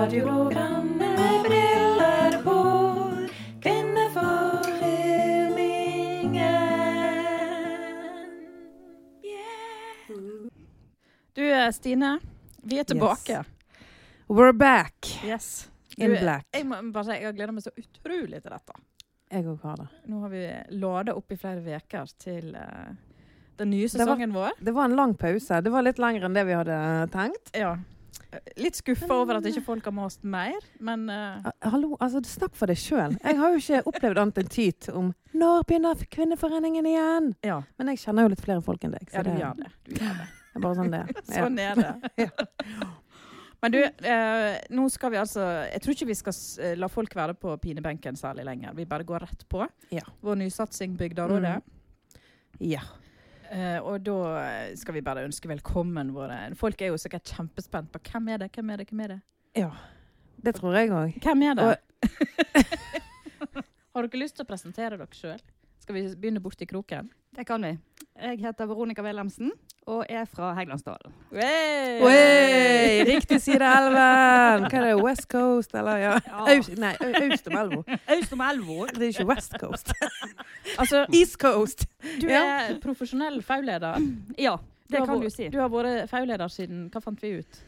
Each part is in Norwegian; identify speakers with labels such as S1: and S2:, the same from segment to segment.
S1: Radioprogrammet med briller på. Kvinneforeningen.
S2: Du eh, Stine, vi er tilbake.
S3: We're back
S2: Yes. Du,
S3: in
S2: eh,
S3: black.
S2: Jeg må bare si, jeg har gleda meg så utrolig til dette.
S3: Jeg òg har det.
S2: Nå har vi lada opp i flere uker til eh, den nye
S3: var-
S2: sesongen vår.
S3: Det var en lang pause. Det var litt lengre enn det vi hadde eh, tenkt.
S2: Ja. Litt skuffa over at ikke folk har mast mer, men eh,
S3: Ah, Hallo, altså snakk for deg sjøl. Jeg har jo ikke opplevd annet enn tyt om 'Når begynner Kvinneforeningen igjen?'
S2: ja,
S3: Men jeg kjenner jo litt flere folk enn deg, så
S2: ja, du
S3: det
S2: gjør det. Du gjør det.
S3: er bare sånn det er. Ja.
S2: Sånn er det. Men du, eh, nå skal vi altså Jeg tror ikke vi skal s- eh, la folk være på pinebenken særlig lenger. Vi bare går rett på.
S3: Ja. Mm.
S2: Vår nysatsing Bygdarådet.
S3: Ja.
S2: Eh, og da skal vi bare ønske velkommen våre Folk er jo sikkert kjempespent på hvem er det, hvem er det, hvem er det?
S3: Det tror jeg òg.
S2: Hvem er det? Har dere lyst til å presentere dere sjøl? Skal vi begynne borti kroken?
S4: Det kan vi. Jeg heter Veronica Wilhelmsen og er fra Heggelandsdalen.
S2: Hey!
S3: Oi! Riktig side av elven! Hva er det? West Coast, eller? Ja.
S4: Ja.
S3: Aust, nei, Ø- Aust om elva.
S4: Øst om elva.
S3: Det er ikke West Coast.
S2: Altså,
S3: East Coast!
S2: du
S3: Ja.
S2: er profesjonell fauleder.
S4: Ja,
S2: Du
S4: det
S2: har
S4: kan
S2: vært-
S4: du si.
S2: Du har vært fauleder siden Hva fant vi ut?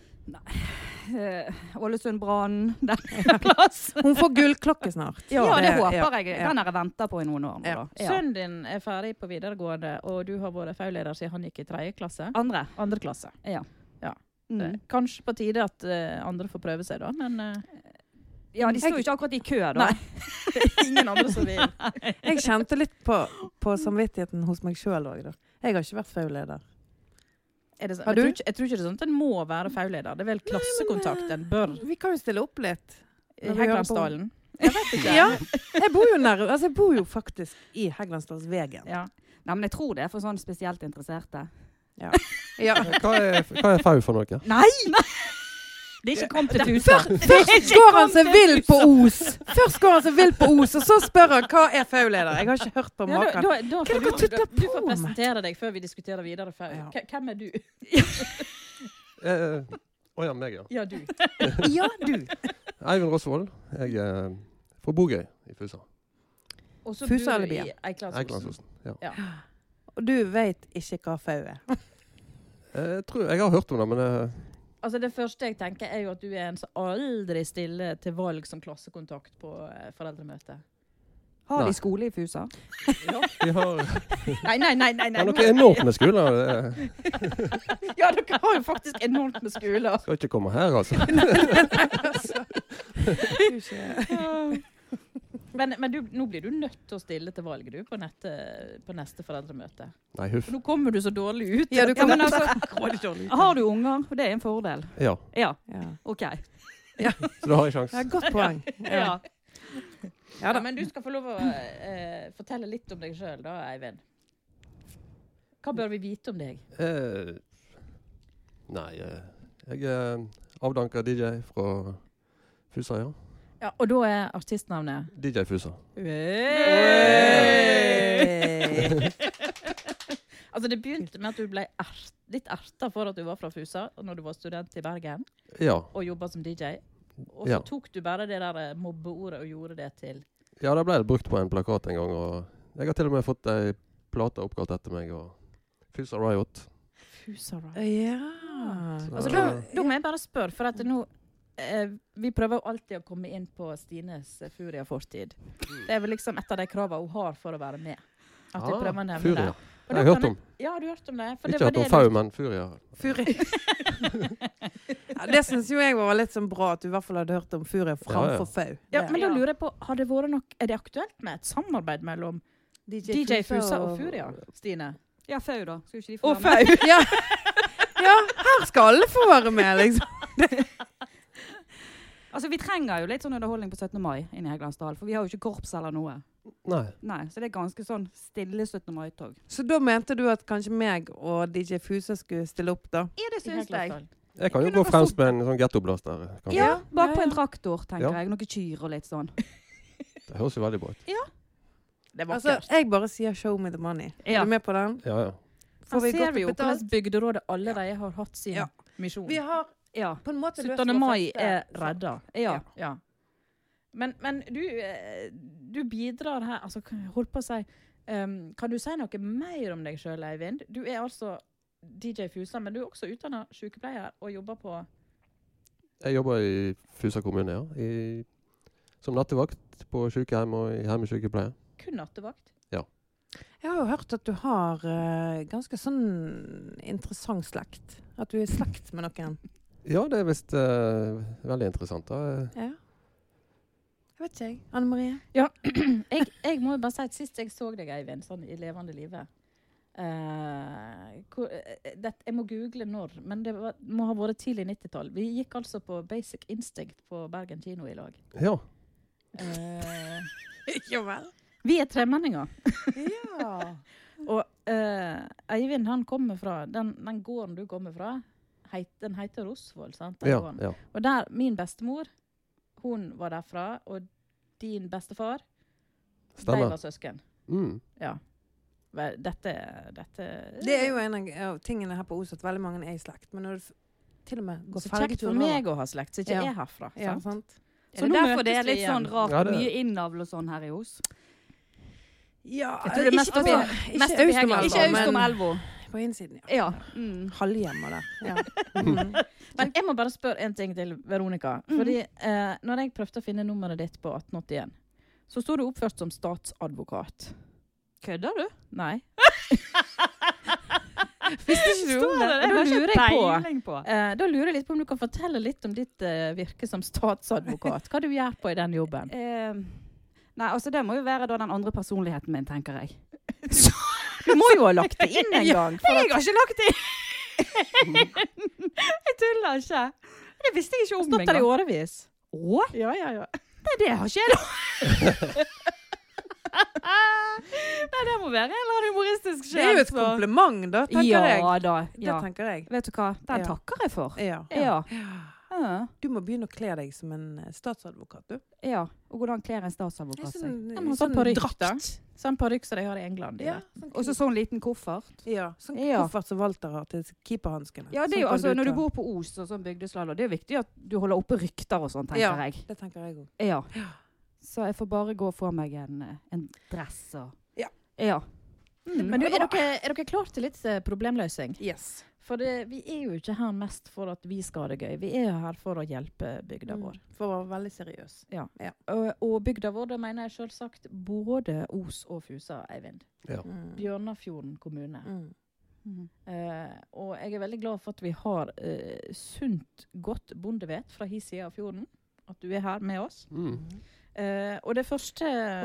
S4: Eh, Ålesund brann, den plass.
S3: Hun får gullklokke snart.
S4: Ja, det håper jeg.
S3: ja.
S4: Den har jeg venta på i noen år. nå,
S3: Ja.
S4: da. Ja.
S2: Sønnen din er ferdig på videregående, og du har vært fauleder siden han gikk i tredje klasse.
S4: Andre.
S2: Andre klasse. Eh,
S4: Mm.
S2: Kanskje på tide at eh, andre får prøve seg, da, men eh,
S4: Ja, de står jo ikke akkurat i kø, da.
S2: ingen andre som vil.
S3: Jeg kjente litt på, på samvittigheten hos meg sjøl òg, da. Jeg har ikke vært fauleder.
S2: Er det sånn?
S3: Har
S2: Jeg, tror
S3: du?
S2: ikke, jeg tror ikke det er sånn at en må være fauleder. Det er vel klassekontakt en bør
S3: Vi kan jo stille opp litt.
S2: i
S3: Når vi hører på-
S2: Heggelandsdalen. Jeg vet ikke.
S3: Ja. Jeg bor jo nær Altså, jeg bor jo faktisk i Heggelandsdalsvegen.
S2: Ja.
S4: Nei, men jeg tror det er for sånn spesielt interesserte.
S3: Ja.
S5: Hva er, hva er FAU for noe?
S4: Nei! Det er ikke kommet til tusen.
S3: Først går han seg vill på Os! Først går han seg vill på Os, og så spør han hva er fauleder. Jeg har ikke hørt på
S2: Ja, da,
S3: maken.
S2: da, da
S3: Hva er
S2: får
S3: det dere
S2: du,
S3: tutter
S2: du får
S3: på med?
S2: presentere deg før vi diskuterer videre. Faul.
S3: Ja.
S2: K- Hvem er du?
S5: Å eh, å ja, meg, ja.
S2: Ja, du.
S3: Ja, du.
S5: Eivind Rosvold. Jeg er fra Bogøy i Fusa.
S2: Og så bor
S3: Fusa
S2: du
S3: eller
S2: i
S3: Bia?
S2: Eikelandsosen.
S5: Eikelandsosen. Ja.
S3: Og du veit ikke hva fau er.
S5: Eh, Jeg tror jeg har hørt om det, men eh,
S2: Altså Det første jeg tenker, er jo at du er en som aldri stiller til valg som klassekontakt på eh, foreldremøte.
S4: Har
S5: Nei.
S4: de skole i Fusa?
S5: vi har, det
S2: Nei, nei, nei! nei, nei.
S5: er noe enormt med skoler. Jeg
S2: Ja, dere har jo faktisk enormt med skoler.
S5: skal ikke komme her, altså.
S2: Altså. Men, men du, nå blir du nødt til å stille til valg du, på, nette, på neste foreldremøte.
S5: Nei, huff.
S2: For nå kommer du så dårlig ut.
S3: Ja, du
S4: Ja,
S3: kan
S4: men altså, har du unger? Det er en fordel.
S5: Ja,
S4: Ja,
S3: Ja.
S4: OK.
S5: så da har jeg
S3: Ja,
S5: sjans.
S3: godt poeng. Ja.
S4: Ja.
S3: Ja da.
S2: men du skal få lov å eh, fortelle litt om deg sjøl, da, Eivind. Hva bør vi vite om deg?
S5: Eh, Nei, eh, jeg er avdanka DJ fra Fusa, ja.
S2: Ja, Og da er artistnavnet
S5: DJ Fusa.
S3: Hey!
S2: Altså Det begynte med at du ble ert, litt erta for at du var fra Fusa og når du var student i Bergen
S5: Ja.
S2: og jobba som DJ. Og så
S5: Ja.
S2: tok du bare det der eh, mobbeordet og gjorde det til
S5: ja, det ble det brukt på en plakat en gang. Og jeg har til og med fått ei plate oppkalt etter meg. Og Fusa Riot.
S2: Fusa Ride.
S3: Ja.
S2: Eh, Altså, da, da må jeg bare spørre, for at nå eh, Vi prøver jo alltid å komme inn på Stines eh, Furia-fortid. Det er vel liksom et av de kravene hun har for å være med. At vi prøver å nevne
S5: Ah, Furia.
S2: det. Og
S5: Jeg
S2: da
S5: har hørt
S2: kan
S5: om.
S2: Ja, har du hørt om det? For det
S5: Ikke
S2: var
S5: hørt om
S2: det du-
S5: Fau, men Furia.
S3: Furia. ja, det syns jo jeg var litt sånn bra, at du i hvert fall hadde hørt om Furia framfor Fau.
S2: Ja,
S3: Det-
S2: men da
S4: Ja.
S2: lurer jeg på, har det vært nok, Er det aktuelt med et samarbeid mellom DJ Fusa og Furia, Stine?
S4: Ja, Fau, da. Skal ikke de få
S2: Og
S4: være med?
S2: Fau!
S3: Ja. ja, her skal alle få være med, liksom.
S4: Altså, Vi trenger jo litt sånn underholdning på 17. mai inne i Heggelandsdal, for vi har jo ikke korps eller noe.
S5: Nei.
S4: Nei, Så det er ganske sånn stille 17. mai-tog.
S3: Så da mente du at kanskje meg og DJ Fusa skulle stille opp, da?
S4: Ja, det syns jeg.
S5: Jeg kan jo
S4: Kunne
S5: gå
S4: vært
S5: fremst med en sånn gettoblaster. kanskje.
S4: Ja, Bakpå
S3: Ja, ja.
S4: en traktor, tenker
S5: Ja.
S4: jeg. Noen kyr og litt sånn.
S5: Det høres jo veldig bra ut.
S2: Det er
S3: Altså,
S2: vakkert.
S3: jeg bare sier 'show me the money'.
S4: Ja.
S3: Er du med på den?
S5: Ja, ja.
S3: Får
S2: Her
S3: vi
S2: ser
S3: godt
S2: vi jo
S3: betalt?
S2: hvordan Bygderådet allerede har hatt sin
S3: Ja.
S2: misjon.
S3: Vi har
S2: Ja.
S6: På en måte løst
S2: 17.
S6: vår
S2: mai
S6: første-
S2: er redda. Ja.
S6: Ja.
S2: ja. Men, men du, eh, du bidrar her altså, k- Holdt på å si ehm, Kan du si noe mer om deg sjøl, Eivind? Du er altså DJ Fusa, men du er også utdanna sykepleier og jobber på
S5: Jeg jobber i Fusa kommune, ja. I, som nattevakt på sykehjem og i hjemmesykepleie.
S2: kun nattevakt.
S3: Jeg har jo hørt at du har eh, ganske sånn interessant slekt. At du er i slekt med noen.
S5: Ja, det er visst eh, veldig interessant. da.
S3: Ja. Jeg vet ikke, jeg. Anne Marie?
S2: Jeg, jeg må jo bare si at sist jeg så deg, Eivind, sånn i levende live eh, hvor, eh, det, Jeg må google når, men det var, må ha vært tidlig 90-tall. Vi gikk altså på Basic Instinct på Bergen kino i lag.
S5: Ja.
S2: Eh,
S3: ja vel.
S2: vi er tremenninger.
S3: Ja.
S2: Og eh, Eivind han kommer fra den, den gården du kommer fra, heit, den heter Rosvoll, sant? Den
S5: Ja,
S2: gården.
S5: ja.
S2: Og der, min bestemor, hun var derfra, og din bestefar, de
S5: Stemmer.
S2: var søsken.
S5: Mm.
S2: Ja. Vel, Dette, dette
S3: Det er jo en av av tingene her på Os at veldig mange er i slekt. Men når du f- til og med går
S2: Så kjekt for
S3: fergetur
S2: meg å ha slekt, så ikke
S3: Ja.
S2: jeg er herfra. Sant?
S3: Ja, sant?
S2: Så
S4: Så
S2: nå
S4: derfor det
S2: møtes
S4: er
S2: vi
S4: litt sånn
S2: igjen.
S4: rart
S5: Ja, det-
S4: mye innavl og sånn her i Os?
S3: Ja,
S4: Jeg tror det er mest oppi-
S3: ikke
S4: mest oppi
S3: Austom,
S4: Heggen.
S3: altså,
S4: Ikke Austom
S3: men
S4: elva.
S3: på innsiden, ja.
S4: Ja. Mm.
S3: Halvhjemma der. Ja. Mhm.
S2: Men jeg må bare spørre en ting til Veronica. Fordi eh, når jeg prøvde å finne nummeret ditt på 1881, så sto du oppført som statsadvokat.
S4: Kødder du?
S2: Nei.
S4: Visste ikke
S2: du om det?
S4: Jeg har
S2: Da lurer
S4: ikke
S2: jeg på.
S4: peiling på.
S2: Eh, da lurer jeg litt på om du kan fortelle litt om ditt eh, virke som statsadvokat. Hva du gjør på i den jobben.
S4: Eh, nei, altså det må jo være da den andre personligheten min, tenker jeg. Du må jo ha lagt det inn en gang. jeg har ikke lagt det inn! jeg tuller ikke. Det visste jeg ikke om
S2: Stått der i
S4: engang.
S2: årevis.
S4: Å?
S2: Ja, ja, ja.
S4: Nei, det har ikke jeg lagt Nei, det må være en eller annen humoristisk
S3: Det er jo
S4: sjef.
S3: et kompliment, da, tenker
S4: ja,
S3: jeg.
S4: da.
S3: Det
S4: Ja.
S3: tenker jeg.
S4: Vet du hva? Den
S3: Ja.
S4: takker jeg for.
S3: Ja.
S4: Ja. Ja.
S3: Du må begynne å kle deg som en eh, statsadvokat, du.
S4: ja. Og hvordan kler en statsadvokat seg?
S3: Sånn,
S2: Han har sånn parykk, da. Sånn parykk som de har i England.
S3: Ja,
S2: Ja.
S3: sånn
S4: Og så sånn liten koffert.
S3: Ja, sånn
S4: Ja.
S3: koffert som Walter har til keeperhanskene.
S4: Ja, det er
S3: Sånn
S4: jo,
S3: kan
S4: altså, når du
S3: ta.
S4: bor på Os og sånn bygdeslalåm, det er jo viktig at du holder oppe rykter og sånn, tenker
S3: Ja.
S4: jeg.
S3: Det tenker jeg òg.
S4: Ja. Så jeg får bare gå og få meg en, eh, en dress og
S3: Ja.
S4: ja. Mm.
S2: Men du, er dere, er dere klar til litt eh, problemløsning?
S3: Yes.
S2: For det, vi er jo ikke her mest for at vi skal ha det gøy. Vi er jo her for å hjelpe bygda vår.
S3: For å være veldig seriøs.
S2: Og, og bygda vår, da mener jeg selvsagt både Os og Fusa, Eivind.
S3: Mm.
S2: Bjørnafjorden kommune.
S3: Mm.
S4: Mhm.
S2: Eh, og jeg er veldig glad for at vi har eh, sunt, godt bondevet fra hi side av fjorden. At du er her med oss.
S5: Mm.
S2: Eh, og det første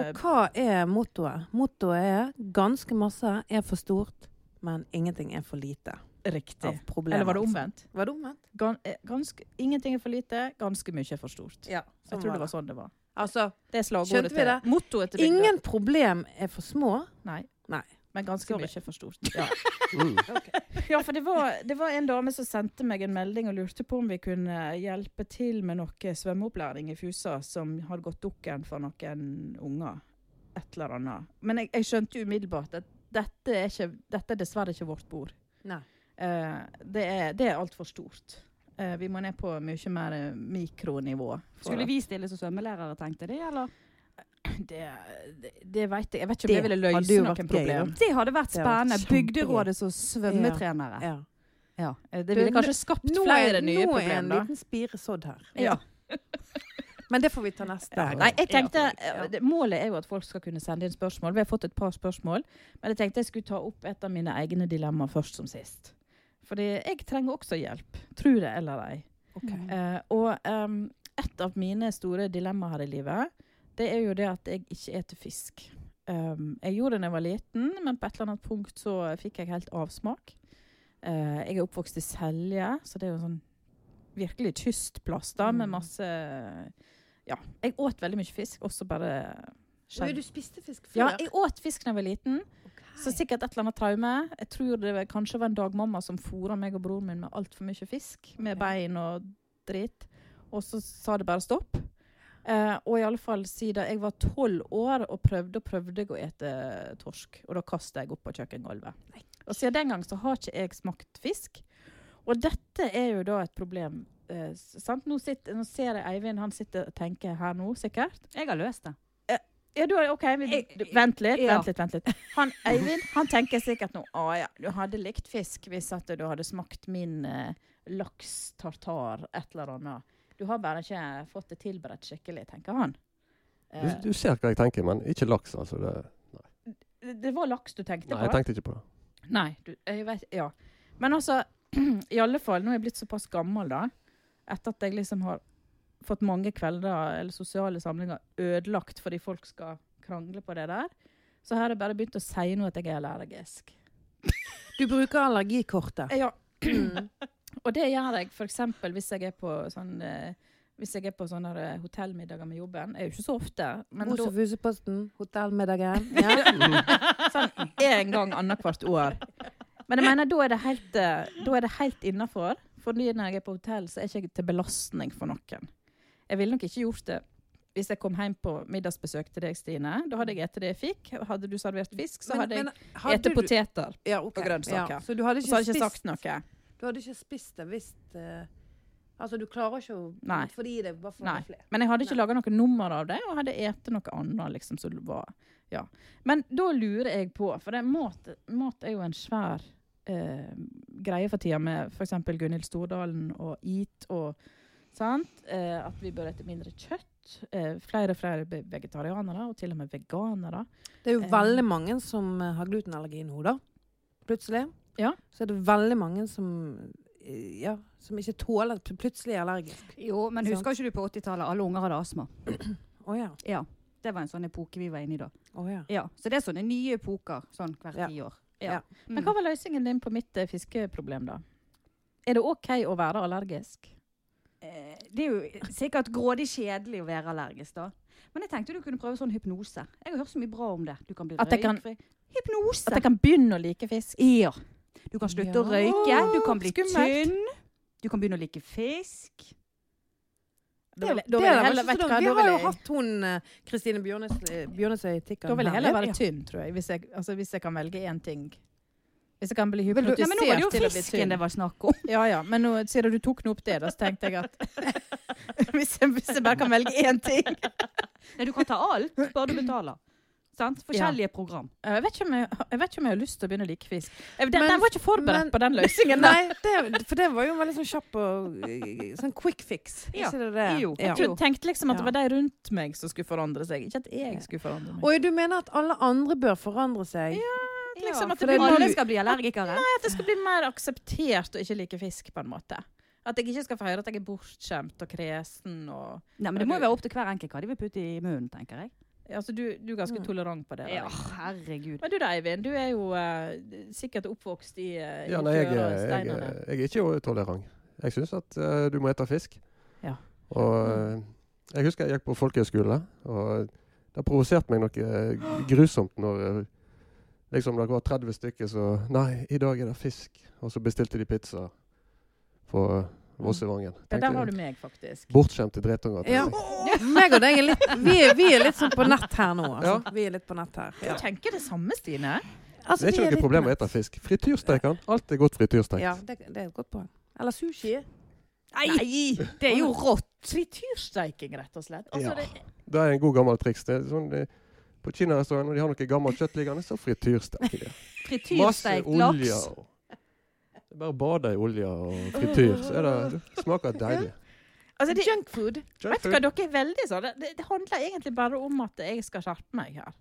S3: Og hva er mottoet? Mottoet er ganske masse er for stort, men ingenting er for lite.
S2: Riktig.
S3: Av problemer.
S2: Eller var det
S3: altså.
S2: omvendt?
S3: Var det omvendt?
S2: Gan, eh, ganske, ingenting er for lite, ganske mye er for stort.
S3: Ja.
S2: jeg tror det var sånn det var.
S3: Altså,
S2: Det er slagordet
S3: Skjønte vi
S2: til
S3: det?
S2: mottoet til bygda.
S3: ingen problem er for små.
S2: Nei.
S3: Nei.
S2: Men ganske
S3: Sorry.
S2: mye for stort. Ja.
S5: Mm.
S2: Ja, for det var, det var en dame som sendte meg en melding og lurte på om vi kunne hjelpe til med noe svømmeopplæring i Fusa som hadde gått dukken for noen unger. Et eller annet. Men jeg, jeg skjønte jo umiddelbart at dette er, ikke, dette er dessverre ikke vårt bord.
S3: Nei.
S2: Eh, det er, det er altfor stort. Eh, vi må ned på mye mer eh, mikronivå. for
S4: Skulle
S2: at-
S4: vi stille som svømmelærere, tenkte de, eller?
S2: Det, det, det vet jeg. Jeg vet ikke om det,
S3: Det
S2: ville
S3: hadde jo
S2: løse noen
S3: vært gøy, da.
S2: problem.
S4: Det hadde vært
S3: Det
S4: spennende.
S3: hadde vært kjempegøy.
S4: Bygderådet som svømmetrenere.
S3: Ja.
S2: Eh, Det ville
S3: Du,
S2: kanskje skapt
S3: Nå er,
S2: flere nye
S3: nå er en
S2: problemer. da.
S3: liten spire sådd her.
S2: Ja.
S3: Men det får vi ta neste gang.
S2: Nei, jeg tenkte,
S3: Ja.
S2: eh, det- Målet er jo at folk skal kunne sende inn spørsmål. Vi har fått et par spørsmål. Men jeg tenkte jeg skulle ta opp et av mine egne dilemmaer først som sist. Fordi jeg trenger også hjelp. Tror det eller ei.
S3: Ok.
S2: Eh, og ehm, et av mine store dilemmaer her i livet, det er jo det at jeg ikke eter fisk. Ehm, jeg gjorde det da jeg var liten, men på et eller annet punkt så fikk jeg helt avsmak. Eh, jeg er oppvokst i Selje, så det er jo en sånn virkelig kystplass da, med
S3: Mm.
S2: masse Ja. Jeg åt veldig mye fisk, også bare
S6: Oi,
S2: skjedd.
S6: du spiste fisk før?
S2: Ja, jeg åt fisk da jeg var liten,
S6: Ok.
S2: så sikkert et eller annet traume. Jeg tror det var- kanskje var en dag mamma som fôra meg og broren min med altfor mye fisk. Med
S3: Ok.
S2: bein og dritt. Og så sa det bare stopp. Eh, og i alle fall siden jeg var tolv år og prøvde og prøvde jeg å ete torsk. Og da kasta jeg opp på kjøkkengulvet. Og siden den gang så har ikke jeg smakt fisk. Og dette er jo da et problem eh, s- sant? Nå, sitter, nå ser jeg Eivind, han sitter og tenker her nå, sikkert.
S4: Jeg har løst det.
S2: Ja, du, har- ok, vi,
S4: Jeg-
S2: du, vent litt,
S4: ja.
S2: vent litt, vent litt. Han, Eivind han tenker sikkert nå Å ja, du hadde likt fisk hvis at du hadde smakt min eh, laks tartar, et eller annet. Du har bare ikke fått det tilberedt skikkelig, tenker han.
S5: Du,
S2: Eh,
S5: du ser hva jeg tenker, men ikke laks, altså. Det,
S2: det- det var laks du tenkte
S5: nei,
S2: på?
S5: jeg tenkte ikke på det.
S2: Nei, du, jeg vet Ja. Men altså, i alle fall, nå er jeg blitt såpass gammel, da, etter at jeg liksom har fått mange kvelder eller sosiale samlinger ødelagt fordi folk skal krangle på det der, så har jeg bare begynt å si nå at jeg er allergisk.
S3: Du bruker allergikortet.
S2: Ja,
S3: Mm.
S2: og det gjør jeg f.eks. hvis jeg er på sånn eh, hvis jeg er på sånne eh, hotellmiddager med jobben. Det er jo ikke så ofte, men
S3: Mos
S2: da
S3: og fuseposten, hotellmiddagen. Ja.
S2: sånn én gang annethvert år. Men jeg mener, da er det helt, eh, da er det helt innafor. Fordi når jeg er på hotell, så er ikke jeg til belastning for noen. Jeg ville nok ikke gjort det hvis jeg kom hjem på middagsbesøk til deg, Stine. Da hadde jeg spist det jeg fikk. Hadde du servert fisk, så hadde jeg spist
S3: du-
S2: poteter.
S3: ja, ok.
S2: og grønnsaker.
S3: Ja, så du hadde
S2: Så hadde jeg ikke
S3: ikke spist
S2: sagt noe.
S3: Du hadde ikke spist det hvis eh, Altså, du klarer ikke å
S2: Nei.
S3: fordi det bare får
S2: Nei.
S3: flere.
S2: Men jeg hadde ikke laga noe nummer av det, og hadde ete noe annet. Liksom, som var, ja. Men da lurer jeg på, for det, mat, mat er jo en svær eh, greie for tida med f.eks. Gunhild Stordalen og EAT og sant? Eh, at vi bør ete mindre kjøtt. Eh, flere og flere be- vegetarianere, og til og med veganere.
S3: Det er jo
S2: Eh.
S3: veldig mange som eh, har glutenallergi nå, da. Plutselig.
S2: Ja.
S3: Så er det veldig mange som eh, ja, som ikke tåler pl- Plutselig er allergisk.
S4: Jo, men husker ikke du på 80-tallet? Alle unger hadde astma.
S3: Å ja.
S4: Ja. Det var en sånn epoke vi var inne i da.
S3: Å ja.
S4: Ja, Så det er sånne nye epoker sånn hvert
S3: Ja.
S4: tiår.
S3: Ja.
S2: Men hva var løsningen din på mitt eh, fiskeproblem, da? Er det OK å være allergisk?
S4: Eh, Det er jo sikkert grådig kjedelig å være allergisk, da. Men jeg tenkte du kunne prøve sånn hypnose. Jeg har hørt så mye bra om det. Du kan bli
S2: At jeg kan-
S4: røykfri.
S2: At
S4: Hypnose!
S2: jeg kan begynne å like fisk?
S4: Ja. Du kan slutte å
S3: Ja.
S4: røyke. Du kan bli
S2: Skummelt.
S4: tynn. Du kan begynne å like fisk.
S2: Da vil jeg- da
S3: Det
S2: vil jeg
S3: er da
S2: heller-
S3: kanskje
S2: vet du
S3: sånn.
S2: hva,
S3: Vi
S2: da
S3: har
S2: vil
S3: jo
S2: jeg-
S3: hatt hun eh, Kristine Bjørnes- eh, Bjørnesøy Tikkan
S2: Da vil jeg
S3: her.
S2: heller være
S3: Ja.
S2: tynn, tror jeg. Hvis jeg, altså, hvis jeg kan velge én ting. Hvis jeg kan bli
S4: Nei,
S2: hypnotisert
S4: men nå var det jo
S2: til å bli
S4: fisken
S2: tynn.
S4: det var snakk om.
S2: Ja, ja. Men nå, siden du tok nå opp det, da, så tenkte jeg at hvis, jeg, hvis jeg bare kan velge én ting
S4: Nei, du kan ta alt, bare du betaler. Sant? Forskjellige program.
S2: jeg vet, ikke om jeg, jeg vet ikke om jeg har lyst til å begynne å like fisk. Jeg, den,
S3: Men-
S2: den var ikke forberedt
S3: men-
S2: på den løsningen. der.
S3: Nei, det, for det var jo veldig sånn kjapp og eh, sånn quick fix.
S4: Ja.
S3: Ikke det det?
S4: Jo.
S2: Jeg
S3: Ja.
S2: trodde, tenkte liksom at det var
S3: Ja.
S2: de rundt meg som skulle forandre seg, ikke at jeg skulle forandre meg.
S3: Og du mener at alle andre bør forandre seg?
S2: liksom at
S4: for
S2: det blir
S4: alle
S2: noe-
S4: skal bli allergikere.
S2: At det skal bli mer akseptert å ikke like fisk, på en måte. At jeg ikke skal få høre at jeg er bortskjemt og kresen og
S4: Nei, men Det må jo være opp til hver enkelt hva de vil putte i munnen, tenker jeg.
S2: Altså, du, du er ganske
S3: Mm.
S2: tolerant på det. da,
S4: Ja, herregud.
S2: Men du da, Eivind, du er jo eh, sikkert oppvokst i, uh,
S5: Ja, nei, jeg, jeg, jeg, er ikke tolerant. Jeg syns at eh, du må ete fisk.
S2: Ja. Mm.
S5: Og eh, jeg husker jeg gikk på folkehøyskole, og det provoserte meg noe eh, grusomt når eh, liksom det var 30 stykker så Nei, i dag er det fisk. Og så bestilte de pizza på Vossevangen.
S2: Ja, der
S5: Tenkte,
S2: har du meg, faktisk.
S5: Bortskjemte drittunger. tenkte
S3: Ja.
S5: jeg.
S3: Meg og deg er litt vi er, vi er litt sånn på nett her nå. Altså. Vi er litt på nett her.
S2: Du tenker det samme, Stine.
S3: Altså, vi
S5: det er ikke
S3: litt
S5: noe problem å
S3: nett.
S5: ete fisk. Frityrsteik han. Alt er godt frityrstekt.
S3: Ja, det, det er et godt poeng. Eller sushi.
S4: Nei! Det er jo rått.
S2: Frityrsteiking, rett og slett. Altså,
S5: Ja.
S2: det,
S5: Det er en god gammel triks. Det er sånn, eh, på kinarestauranten når de har noe gammelt kjøtt liggende, så frityrsteker de. Masse
S4: Frityrsteikt
S5: olje.
S4: laks.
S5: og- Det er bare å bade i olje og frityr, så er det, det smaker deilig.
S2: altså, det,
S3: Junkfood.
S2: vet du hva, dere er veldig sånn. Det, det handler egentlig bare om at jeg skal skjerpe meg her.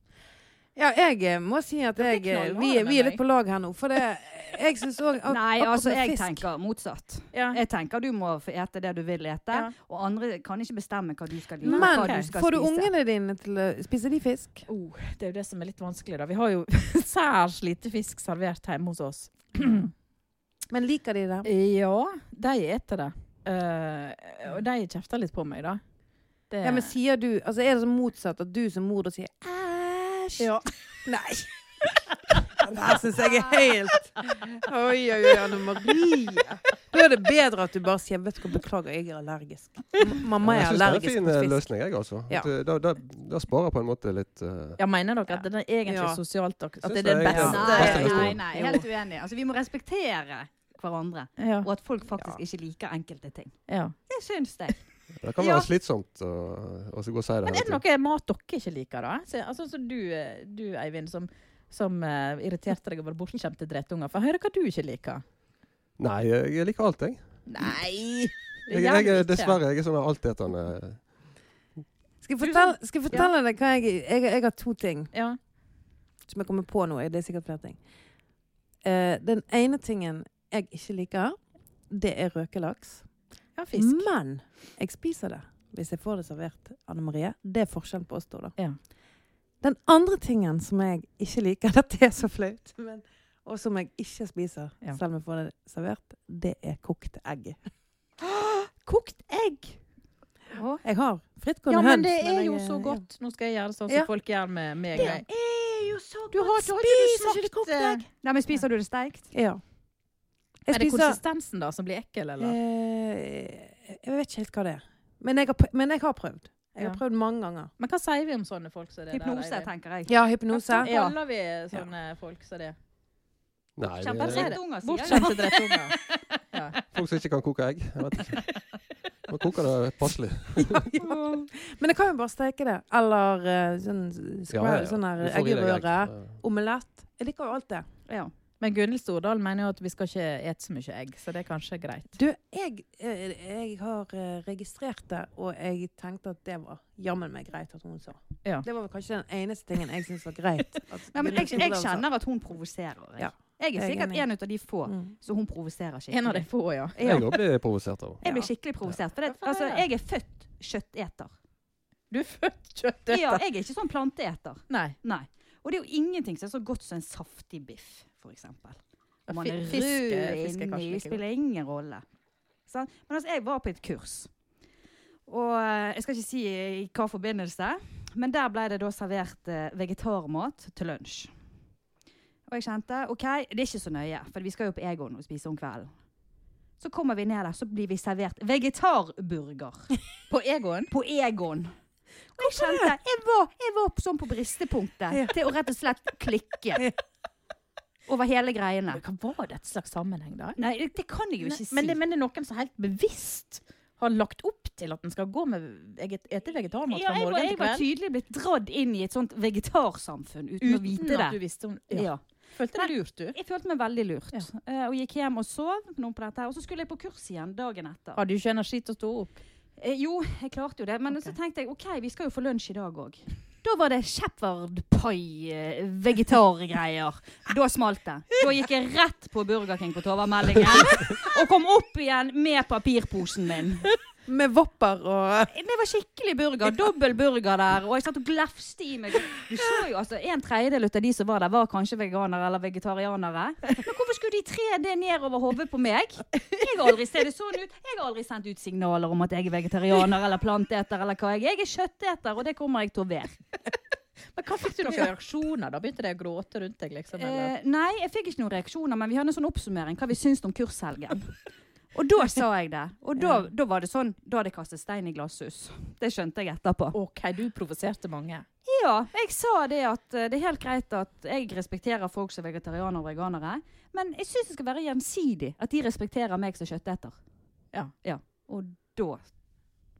S3: Ja, jeg eh, må si at
S2: Dere
S3: jeg, eh,
S2: knaller
S3: vi,
S2: med
S3: vi
S2: meg.
S3: er litt på lag her nå. For det, jeg syns òg
S4: Nei, altså, jeg tenker motsatt.
S2: Ja.
S4: Jeg tenker du må få ete det du vil ete,
S2: Ja.
S4: og andre kan ikke bestemme hva du skal like. og
S3: Men
S4: hva du skal
S3: får du
S4: spise.
S3: ungene dine til å spise de fisk?
S2: Oh, det er jo det som er litt vanskelig, da. Vi har jo særs lite fisk servert hjemme hos oss.
S3: Men liker de det?
S2: Ja, de eter det. Eh, og de kjefter litt på meg, da. Det-
S3: Ja, men sier du Altså, er det så motsatt at du som mor da sier æsj?
S2: Ja.
S3: Nei. Det her syns jeg er helt Oi, oi, oi, Anne Marie. Da er det bedre at du bare sier Vet du hva, beklager, jeg er allergisk. M- Mamma
S5: Jeg
S3: er
S5: syns det er en
S3: allergisk
S5: fin
S3: mot
S5: eh,
S3: fisk.
S5: løsning, jeg, altså.
S3: Ja.
S5: At, eh, Da, da, da sparer på en måte litt eh,
S2: Ja, mener dere at det er egentlig
S3: Ja.
S2: sosialt at
S5: Syns
S2: det er det
S5: jeg er-
S2: beste?
S5: Beste
S4: Nei, nei,
S5: restaurant.
S4: nei, helt uenig. Altså, vi må respektere hverandre.
S2: Ja.
S4: Og at folk faktisk ikke liker enkelte ting.
S2: ja.
S4: Det syns jeg.
S5: Det kan
S4: Ja.
S5: være slitsomt å, å gå og si det
S2: Men
S5: altså. hele
S2: er det
S5: tiden.
S2: noe mat dere ikke liker, da? Så, altså, så du, eh, du, Eivind, som, som eh, irriterte deg over bortskjemte drettunger. For hør hva du ikke liker.
S5: Nei, jeg liker alt, jeg.
S2: Nei! gjør
S5: jeg, jeg
S2: du
S5: er,
S2: ikke.
S5: dessverre. Jeg er sånn altetende.
S3: Skal jeg fortelle, skal jeg fortelle deg hva jeg, jeg Jeg har to ting
S2: Ja.
S3: som jeg kommer på nå. Det er sikkert flere ting. Eh, den ene tingen jeg ikke liker, det er røkelaks.
S2: ja, fisk.
S3: Men jeg spiser det hvis jeg får det servert, Anne Marie. Det er forskjellen på oss to, da.
S2: Ja.
S3: Den andre tingen som jeg ikke liker, dette er så flaut, men, og som jeg ikke spiser
S2: Ja.
S3: selv om jeg får det servert, det er kokte egg.
S2: Kokt egg!
S3: Jeg har frittgående
S2: Ja, men
S3: høns.
S2: det er
S3: jeg-
S2: jo så godt. Nå skal jeg gjøre sånn som
S3: Ja.
S2: folk gjør med meg.
S4: Det er jo så
S2: Du har, du har ikke du
S4: Spiser ikke
S2: smakt
S4: du kokt
S2: eh,
S4: egg? Nei, men spiser du det steikt?
S3: Ja. Jeg
S2: Er det
S3: spiser-
S2: konsistensen da som blir ekkel, eller?
S3: Eh, jeg vet ikke helt hva det er. Men jeg har, pr- men jeg har prøvd. Jeg har
S2: Ja.
S3: prøvd mange ganger.
S2: Men hva sier vi om sånne folk som det?
S4: Hypnose, tenker jeg.
S3: Ja, hypnose.
S2: Hva
S4: Ja.
S2: kaller vi sånne folk som det?
S5: Nei,
S4: Kjemper
S5: det er
S4: drittunger, sier jeg.
S2: Bortskjemte drettunger. Ja.
S5: folk som ikke kan koke egg. Jeg vet ikke. Man koker det passelig.
S3: Men jeg kan jo bare steke det. Eller eh, sånn,
S5: Ja,
S3: square,
S5: ja, ja.
S3: sånn her
S5: Du får i deg egg.
S3: eggerøre.
S5: Ja.
S3: Omelett. Jeg liker jo alt det.
S4: Ja.
S2: Men Gunhild Stordal mener jo at vi skal ikke ete så mye egg, så det er kanskje greit.
S3: Du, jeg, eh, jeg har eh, registrert det, og jeg tenkte at det var jammen meg greit at hun sa.
S2: Ja.
S3: Det var vel kanskje den eneste tingen jeg syntes var greit. at liksom
S4: Nei, men jeg,
S3: Gunhild
S4: jeg
S3: Stordal sa.
S4: kjenner at hun provoserer. Jeg,
S3: Ja.
S4: jeg er
S3: Jeg er
S4: sikkert
S3: enig.
S4: en av de få,
S3: Mm.
S4: så hun provoserer
S2: En av de
S4: skikkelig.
S2: få, ja.
S4: Ja.
S5: Jeg òg blir provosert av
S4: Jeg blir skikkelig provosert. For det,
S2: Hvorfor er
S4: altså,
S2: det?
S4: jeg er født kjøtteter.
S2: Du er født kjøttet.
S4: Ja, jeg er ikke sånn planteeter.
S2: Nei.
S4: Nei. Og det er jo ingenting som er så godt som en saftig biff, f.eks.
S2: Ja,
S4: Om man
S2: fi-
S4: er
S2: fisk er-
S4: rød
S2: fisk er kanskje
S4: inni,
S2: like
S4: spiller ingen rolle. Sant? Men altså, jeg var på et kurs. Og eh, jeg skal ikke si i hva forbindelse, men der ble det da servert eh, vegetarmat til lunsj. Og jeg kjente OK, det er ikke så nøye, for vi skal jo på Egon og spise om kvelden. Så kommer vi ned der, så blir vi servert vegetarburger
S2: På Egon?
S4: på Egon. Og jeg kjente Jeg var, jeg var på- sånn på bristepunktet
S3: Ja.
S4: til å rett og slett klikke over hele greiene.
S2: Hva var det et slags sammenheng, da?
S4: Nei, det- det kan jeg jo
S2: Nei,
S4: ikke si.
S2: Men det, men det er noen som helt bevisst har lagt opp til at en skal gå med eget, ete vegetarmat
S4: ja,
S2: fra
S4: jeg, var,
S2: morgen til
S4: jeg var
S2: kveld.
S4: tydelig blitt dratt inn i et sånt vegetarsamfunn uten, å vite
S2: at du
S4: det.
S2: visste om
S4: Ja.
S2: ja. Følte
S4: Nei.
S2: det lurt, du.
S4: Jeg følte meg veldig lurt.
S2: Ja.
S4: Eh, og gikk hjem og sov noen på dette her. Og så skulle jeg på kurs igjen dagen etter.
S2: Hadde du ikke energi til å stå opp?
S4: Eh, jo, jeg klarte jo det. Men
S2: Ok.
S4: så tenkte jeg OK, vi skal jo få lunsj i dag òg. Da var det shepherd pie, eh, vegetargreier. Da smalt det. Da gikk jeg rett på Burger King på Tovermeldingen. Og kom opp igjen med papirposen min.
S3: Med vopper og
S4: Det var skikkelig burger. Dobbel burger der. Og jeg satt og glefste i meg. Du så jo altså, En tredjedel av de som var der, var kanskje veganere eller vegetarianere. Men hvorfor skulle de tre det ned over hodet på meg? Jeg har aldri ser det sånn ut. Jeg har aldri sendt ut signaler om at jeg er vegetarianer eller planteeter eller hva jeg er. Jeg er kjøtteter, og det kommer jeg til å være.
S2: Men hva fikk du noen reaksjoner? Da begynte de å gråte rundt deg, liksom? Eller?
S4: Eh, nei, jeg fikk ikke noen reaksjoner, men vi hadde en sånn oppsummering hva vi syntes om kurshelgen. Og da sa jeg det. Og da, da var det sånn, da hadde jeg kastet stein i glasshus. Det skjønte jeg etterpå.
S2: OK, du provoserte mange.
S4: Ja, jeg sa det at eh, det er helt greit at jeg respekterer folk som er vegetarianere og veganere, men jeg syns det skal være gjensidig at de respekterer meg som kjøtteter.
S2: Ja.
S4: Og da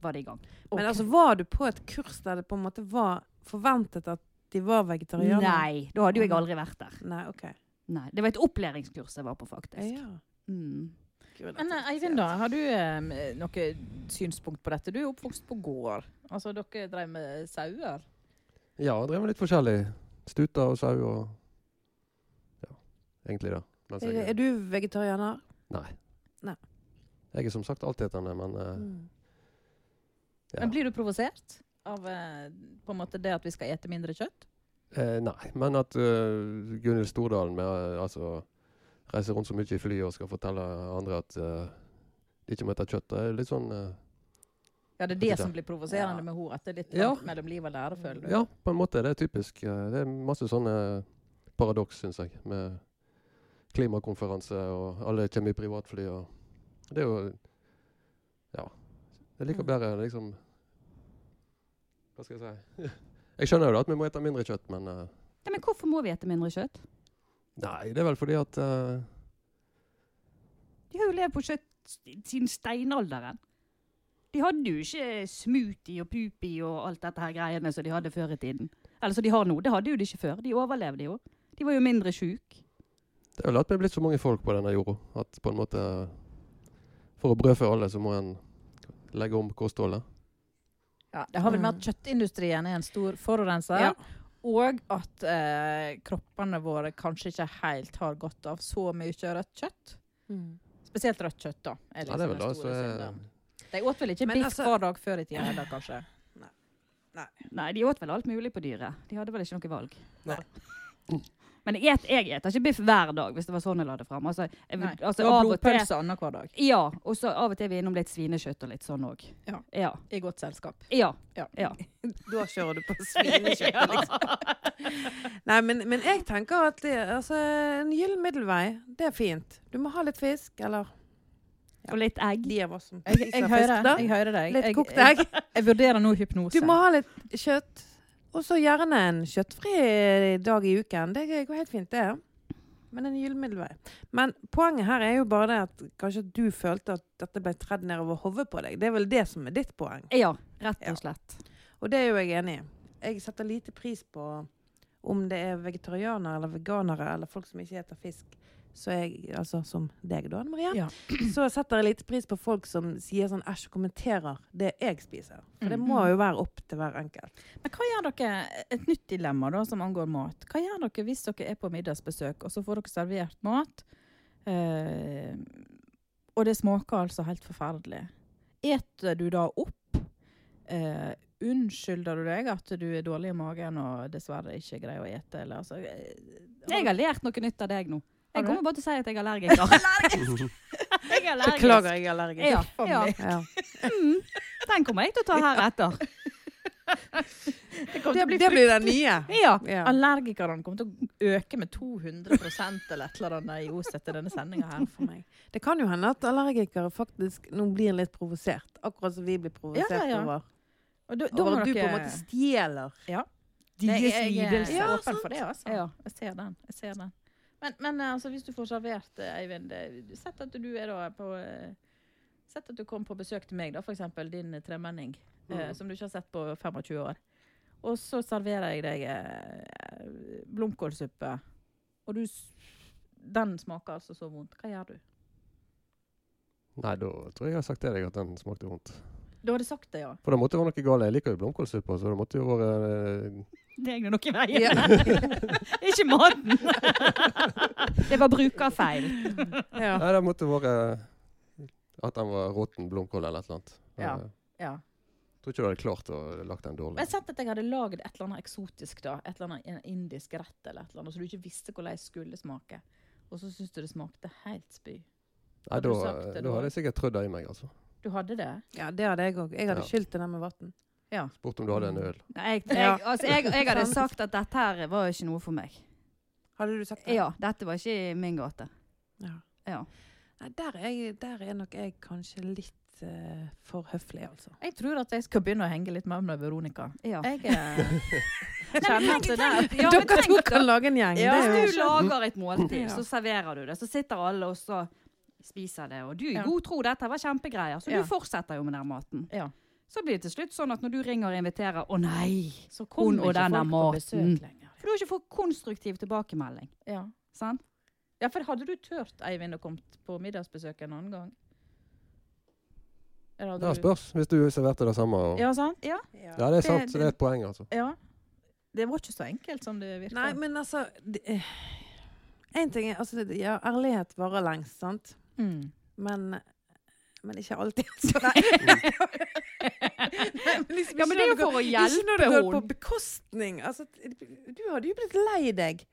S4: var det i gang.
S2: Ok.
S3: Men altså, var du på et kurs der det på en måte var forventet at de var vegetarianere?
S4: Nei, da hadde jo jeg aldri vært der.
S3: Nei, OK.
S4: Nei, Det var et opplæringskurs jeg var på, faktisk.
S3: Ja.
S4: Mm.
S3: Gud,
S2: Men eh, Eivind, da, har du eh, noe synspunkt på dette? Du er oppvokst på gård. Altså, dere drev med sauer?
S5: Ja, jeg drev med litt forskjellig. Stuter og sau og Ja, egentlig det. Mens
S3: Er,
S5: jeg,
S3: er du vegetarianer?
S5: nei.
S3: Nei.
S5: Jeg er som sagt altetende, men eh,
S3: Mm.
S5: Ja.
S2: Men blir du provosert av eh, på en måte det at vi skal ete mindre kjøtt?
S5: eh, Nei. Men at uh, Gunhild Stordalen med, eh, altså, reiser rundt så mye i fly og skal fortelle andre at eh, de ikke må spise kjøtt, det er litt sånn eh,
S2: Ja, det er det som blir provoserende med henne. At det er litt
S5: Ja.
S2: langt mellom liv og lære, føler du.
S5: Ja, på en måte. Det er typisk. eh, Det er masse sånne paradoks, syns jeg. Med klimakonferanse og alle kommer i privatfly og Det er jo Ja. Jeg liker bedre liksom Hva skal jeg si? Jeg skjønner jo da at vi må spise mindre kjøtt, men eh,
S4: Ja, men hvorfor må vi ete mindre kjøtt?
S5: Nei, det er vel fordi at eh,
S4: De har jo levd på kjøtt siden steinalderen. De hadde jo ikke smoothie og pupi og alt dette her greiene som de hadde før i tiden. Eller som de har nå. Det hadde jo de ikke før. De overlevde jo. De var jo mindre sjuke.
S5: Det er vel at vi er blitt så mange folk på denne jorda at på en måte For å brødfø alle, så må en legge om kostholdet.
S2: Ja, det har vel med at kjøttindustrien er en stor forurenser.
S3: Ja.
S2: Og at eh, kroppene våre kanskje ikke helt har godt av så mye rødt kjøtt. Spesielt rødt kjøtt, da. er
S5: Ja, det er
S2: liksom den
S5: vel det som
S2: store
S5: er
S2: synden. De åt vel ikke
S3: Men
S2: biff
S3: altså-
S2: hver dag før i tida heller, kanskje?
S4: Nei, de åt vel alt mulig på dyret. De hadde vel ikke noe valg. Mm.
S3: Nei.
S4: Men jeg et- jeg eter ikke biff hver dag, hvis det var sånn jeg la det fram. Altså, jeg,
S2: Nei.
S4: vil- altså,
S2: og
S4: av og til
S2: blodpølse annenhver dag.
S4: Ja, og så av og til er vi innom litt svinekjøtt og litt sånn òg.
S2: Ja.
S4: Ja.
S2: I godt selskap.
S4: ja.
S3: Da kjører du på svinekjøttet, liksom. Nei, men, men jeg tenker at det, altså, en gyllen middelvei, det er fint. Du må ha litt fisk, eller
S4: Og litt egg.
S3: de av oss som
S2: Jeg, jeg,
S3: spiser
S2: hører,
S3: fisk, da.
S2: jeg hører deg.
S3: Litt
S2: Jeg,
S3: kokt
S2: jeg,
S3: egg.
S2: jeg vurderer nå hypnose.
S3: Du må ha litt kjøtt. Og så gjerne en kjøttfri dag i uken. Det går helt fint, det. Men en gyllen middelvei. Men poenget her er jo bare det at kanskje du følte at dette ble tredd nedover hodet på deg. Det er vel det som er ditt poeng.
S4: Ja, rett
S3: Ja.
S4: og slett.
S3: Og det er jo jeg enig i. Jeg setter lite pris på om det er vegetarianere eller veganere eller folk som ikke spiser fisk. Så jeg, altså som deg da, Anne Maria,
S2: Ja.
S3: så setter jeg lite pris på folk som sier sånn æsj og kommenterer det jeg spiser. For
S2: Mm.
S3: det må jo være opp til hver enkelt.
S2: Men hva gjør dere, Et nytt dilemma da, som angår mat. Hva gjør dere hvis dere er på middagsbesøk, og så får dere servert mat, eh, og det smaker altså helt forferdelig? Eter du da opp? Eh, unnskylder du deg at du er dårlig i magen og dessverre ikke greier å ete? Eller, altså, eh,
S4: Jeg har lært noe nytt av deg nå.
S2: Har
S4: Jeg
S2: du
S4: kommer bare til å si at jeg er allergiker. jeg er allergisk.
S3: Beklager, jeg er allergisk.
S4: Ja,
S2: for
S4: ja.
S2: meg.
S3: Ja.
S4: Mm, den kommer jeg til å ta her etter.
S2: det
S3: Det,
S2: kommer til å bli
S3: det blir den nye.
S4: Ja.
S3: Ja.
S2: Allergikerne kommer til å øke med 200 eller et eller annet i Os etter denne sendinga her.
S3: For meg. Det kan jo hende at allergikere faktisk nå blir litt provosert. Akkurat som vi blir provosert
S2: Ja, ja, ja.
S3: over.
S2: Og da, da
S3: Over
S2: må
S3: at du på en
S2: dere
S3: måte stjeler
S2: Ja.
S3: deres
S2: Nei, jeg-
S3: lidelse.
S2: Jeg er
S3: Ja,
S2: åpen for det, altså.
S4: Ja.
S2: Jeg ser den. Jeg ser den. Men, men eh, altså, hvis du får servert, eh, Eivind eh, Sett at du er da på eh, Sett at du kom på besøk til meg, da, f.eks. din eh, tremenning, eh, som du ikke har sett på 25 år. Og så serverer jeg deg eh, blomkålsuppe, og du s- Den smaker altså så vondt. Hva gjør du?
S5: Nei, da tror jeg jeg har sagt til deg at den smakte vondt.
S2: Du hadde sagt det, ja.
S5: For da måtte det være noe galt. Jeg liker jo blomkålsuppe, så det måtte jo være eh,
S4: Det er nå noe i veien. ikke maten. det var brukerfeil.
S3: Ja.
S5: Nei, det måtte være at den var råtten blomkål eller et eller annet.
S2: Ja.
S5: Jeg
S2: ja.
S5: tror ikke du hadde klart å lagt den dårlig.
S2: Men sett at jeg hadde lagd et eller annet eksotisk, da. Et eller annet en indisk rett eller et eller annet, så du ikke visste hvordan det skulle smake. Og så syntes du det smakte helt spy.
S5: Nei,
S2: hadde
S5: da, eh,
S2: du sagt det,
S5: da
S2: da?
S5: hadde jeg sikkert trødd det i meg, altså.
S2: Du hadde det?
S3: ja, det hadde jeg òg. Jeg hadde
S5: Ja.
S3: skylt det ned med vann.
S5: Spurt om du hadde en øl.
S4: Nei, jeg, jeg,
S3: Ja.
S4: altså, jeg, jeg hadde sagt at dette her var ikke noe for meg.
S3: Hadde du sagt det?
S4: Ja, dette var ikke i min gate.
S3: Ja.
S4: Ja.
S3: Nei, der er, jeg, der er nok jeg kanskje litt eh, for høflig, altså.
S2: Jeg tror at jeg skal begynne å henge litt mer med Veronica.
S4: Ja.
S2: Jeg eh,
S4: Nei,
S2: kjenner
S4: men
S2: at
S4: tenk-
S2: det der
S4: tenk- ja, men
S3: Dere
S4: tenk
S3: to
S4: da.
S3: kan lage en gjeng.
S4: Ja,
S3: det er
S4: hvis
S3: jo
S4: du lager et måltid,
S3: Ja.
S4: så serverer du det. Så sitter alle og så spiser det. Og du i
S2: Ja.
S4: god tro, dette var kjempegreier. Så
S2: Ja.
S4: du fortsetter jo med den maten.
S2: Ja.
S4: Så blir det til slutt sånn at når du ringer og inviterer, å nei!
S2: Så
S4: Hun og
S2: ikke
S4: denne
S2: folk på besøk
S4: maten.
S2: lenger.
S4: For du har ikke fått konstruktiv tilbakemelding.
S2: Ja.
S4: Sant?
S2: ja, for hadde du turt, Eivind, å komme på middagsbesøk en annen gang? Eller
S5: Det
S2: hadde du
S5: spørs hvis du serverte det samme. Og... Ja.
S2: Ja, sant? Ja.
S3: Ja.
S5: det
S2: Det-
S5: er sant. Så det er et poeng, altså.
S2: ja. Det var ikke så enkelt som det virka.
S3: Nei, men altså det, eh, En ting er altså, det- ja, Ærlighet varer lengst, sant?
S2: mm.
S3: Men, men ikke alltid. altså. Nei, men liksom,
S4: Mm. Ja, men det er jo
S3: ikke når
S4: for å
S3: går- ikke når det
S4: hjelpe
S3: går på
S4: henne.
S3: bekostning. Altså, t- du hadde jo blitt lei deg.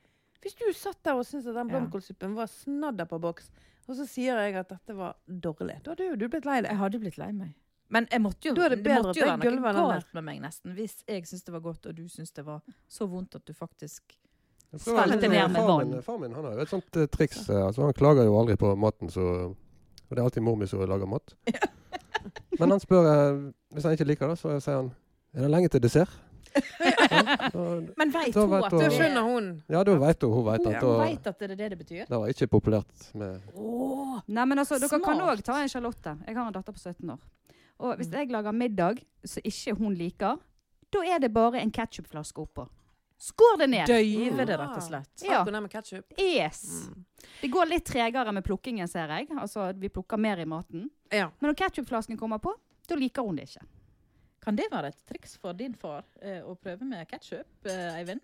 S3: Hvis du satt der og syntes at den
S2: Ja.
S3: blomkålsuppen var snadder på boks, og så sier jeg at dette var dårlig, da hadde jo du blitt lei deg.
S2: Jeg hadde blitt lei meg. Men jeg måtte jo,
S3: Da er
S2: det
S3: det bedre
S2: måtte
S3: at
S2: jo
S3: jeg
S2: være noe
S3: gulver den der.
S2: galt med meg, nesten. Hvis jeg syntes det var godt, og du syntes det var så vondt at du faktisk
S5: Jeg prøver å- liksom
S2: Svelte ned med
S5: Faren
S4: vann.
S5: min- Faren min han har jo et sånt eh, triks. eh, Altså, han klager jo aldri på maten, så Og det er alltid mor mi som lager mat. Men han spør eh, Hvis han ikke liker det, så sier han Er det lenge til dessert? Da-
S2: Men veit
S5: Da
S2: hun
S5: vet
S2: at
S5: hun-
S3: Da
S2: det
S5: skjønner
S2: er
S3: skjønner hun.
S5: Ja, da veit hun. Hun veit
S2: Hun
S5: at da,
S2: vet at det er det det betyr?
S5: det var ikke populært med
S4: Nei, men altså, Dere kan
S2: Smart.
S4: òg ta en Charlotte. Jeg har en datter på 17 år. Og Hvis jeg lager middag som ikke hun liker, da er det bare en ketsjupflaske oppå. Skår det ned!
S2: Døyve det, rett og slett.
S4: Ja.
S3: Alt hun er med ketchup. Mm.
S4: Yes. Det går litt tregere med plukkingen, ser jeg. Altså, Vi plukker mer i maten.
S3: Ja.
S4: Men når ketsjupflasken kommer på, da liker hun det ikke.
S2: Kan det være et triks for din far eh, å prøve med ketsjup, eh, Eivind?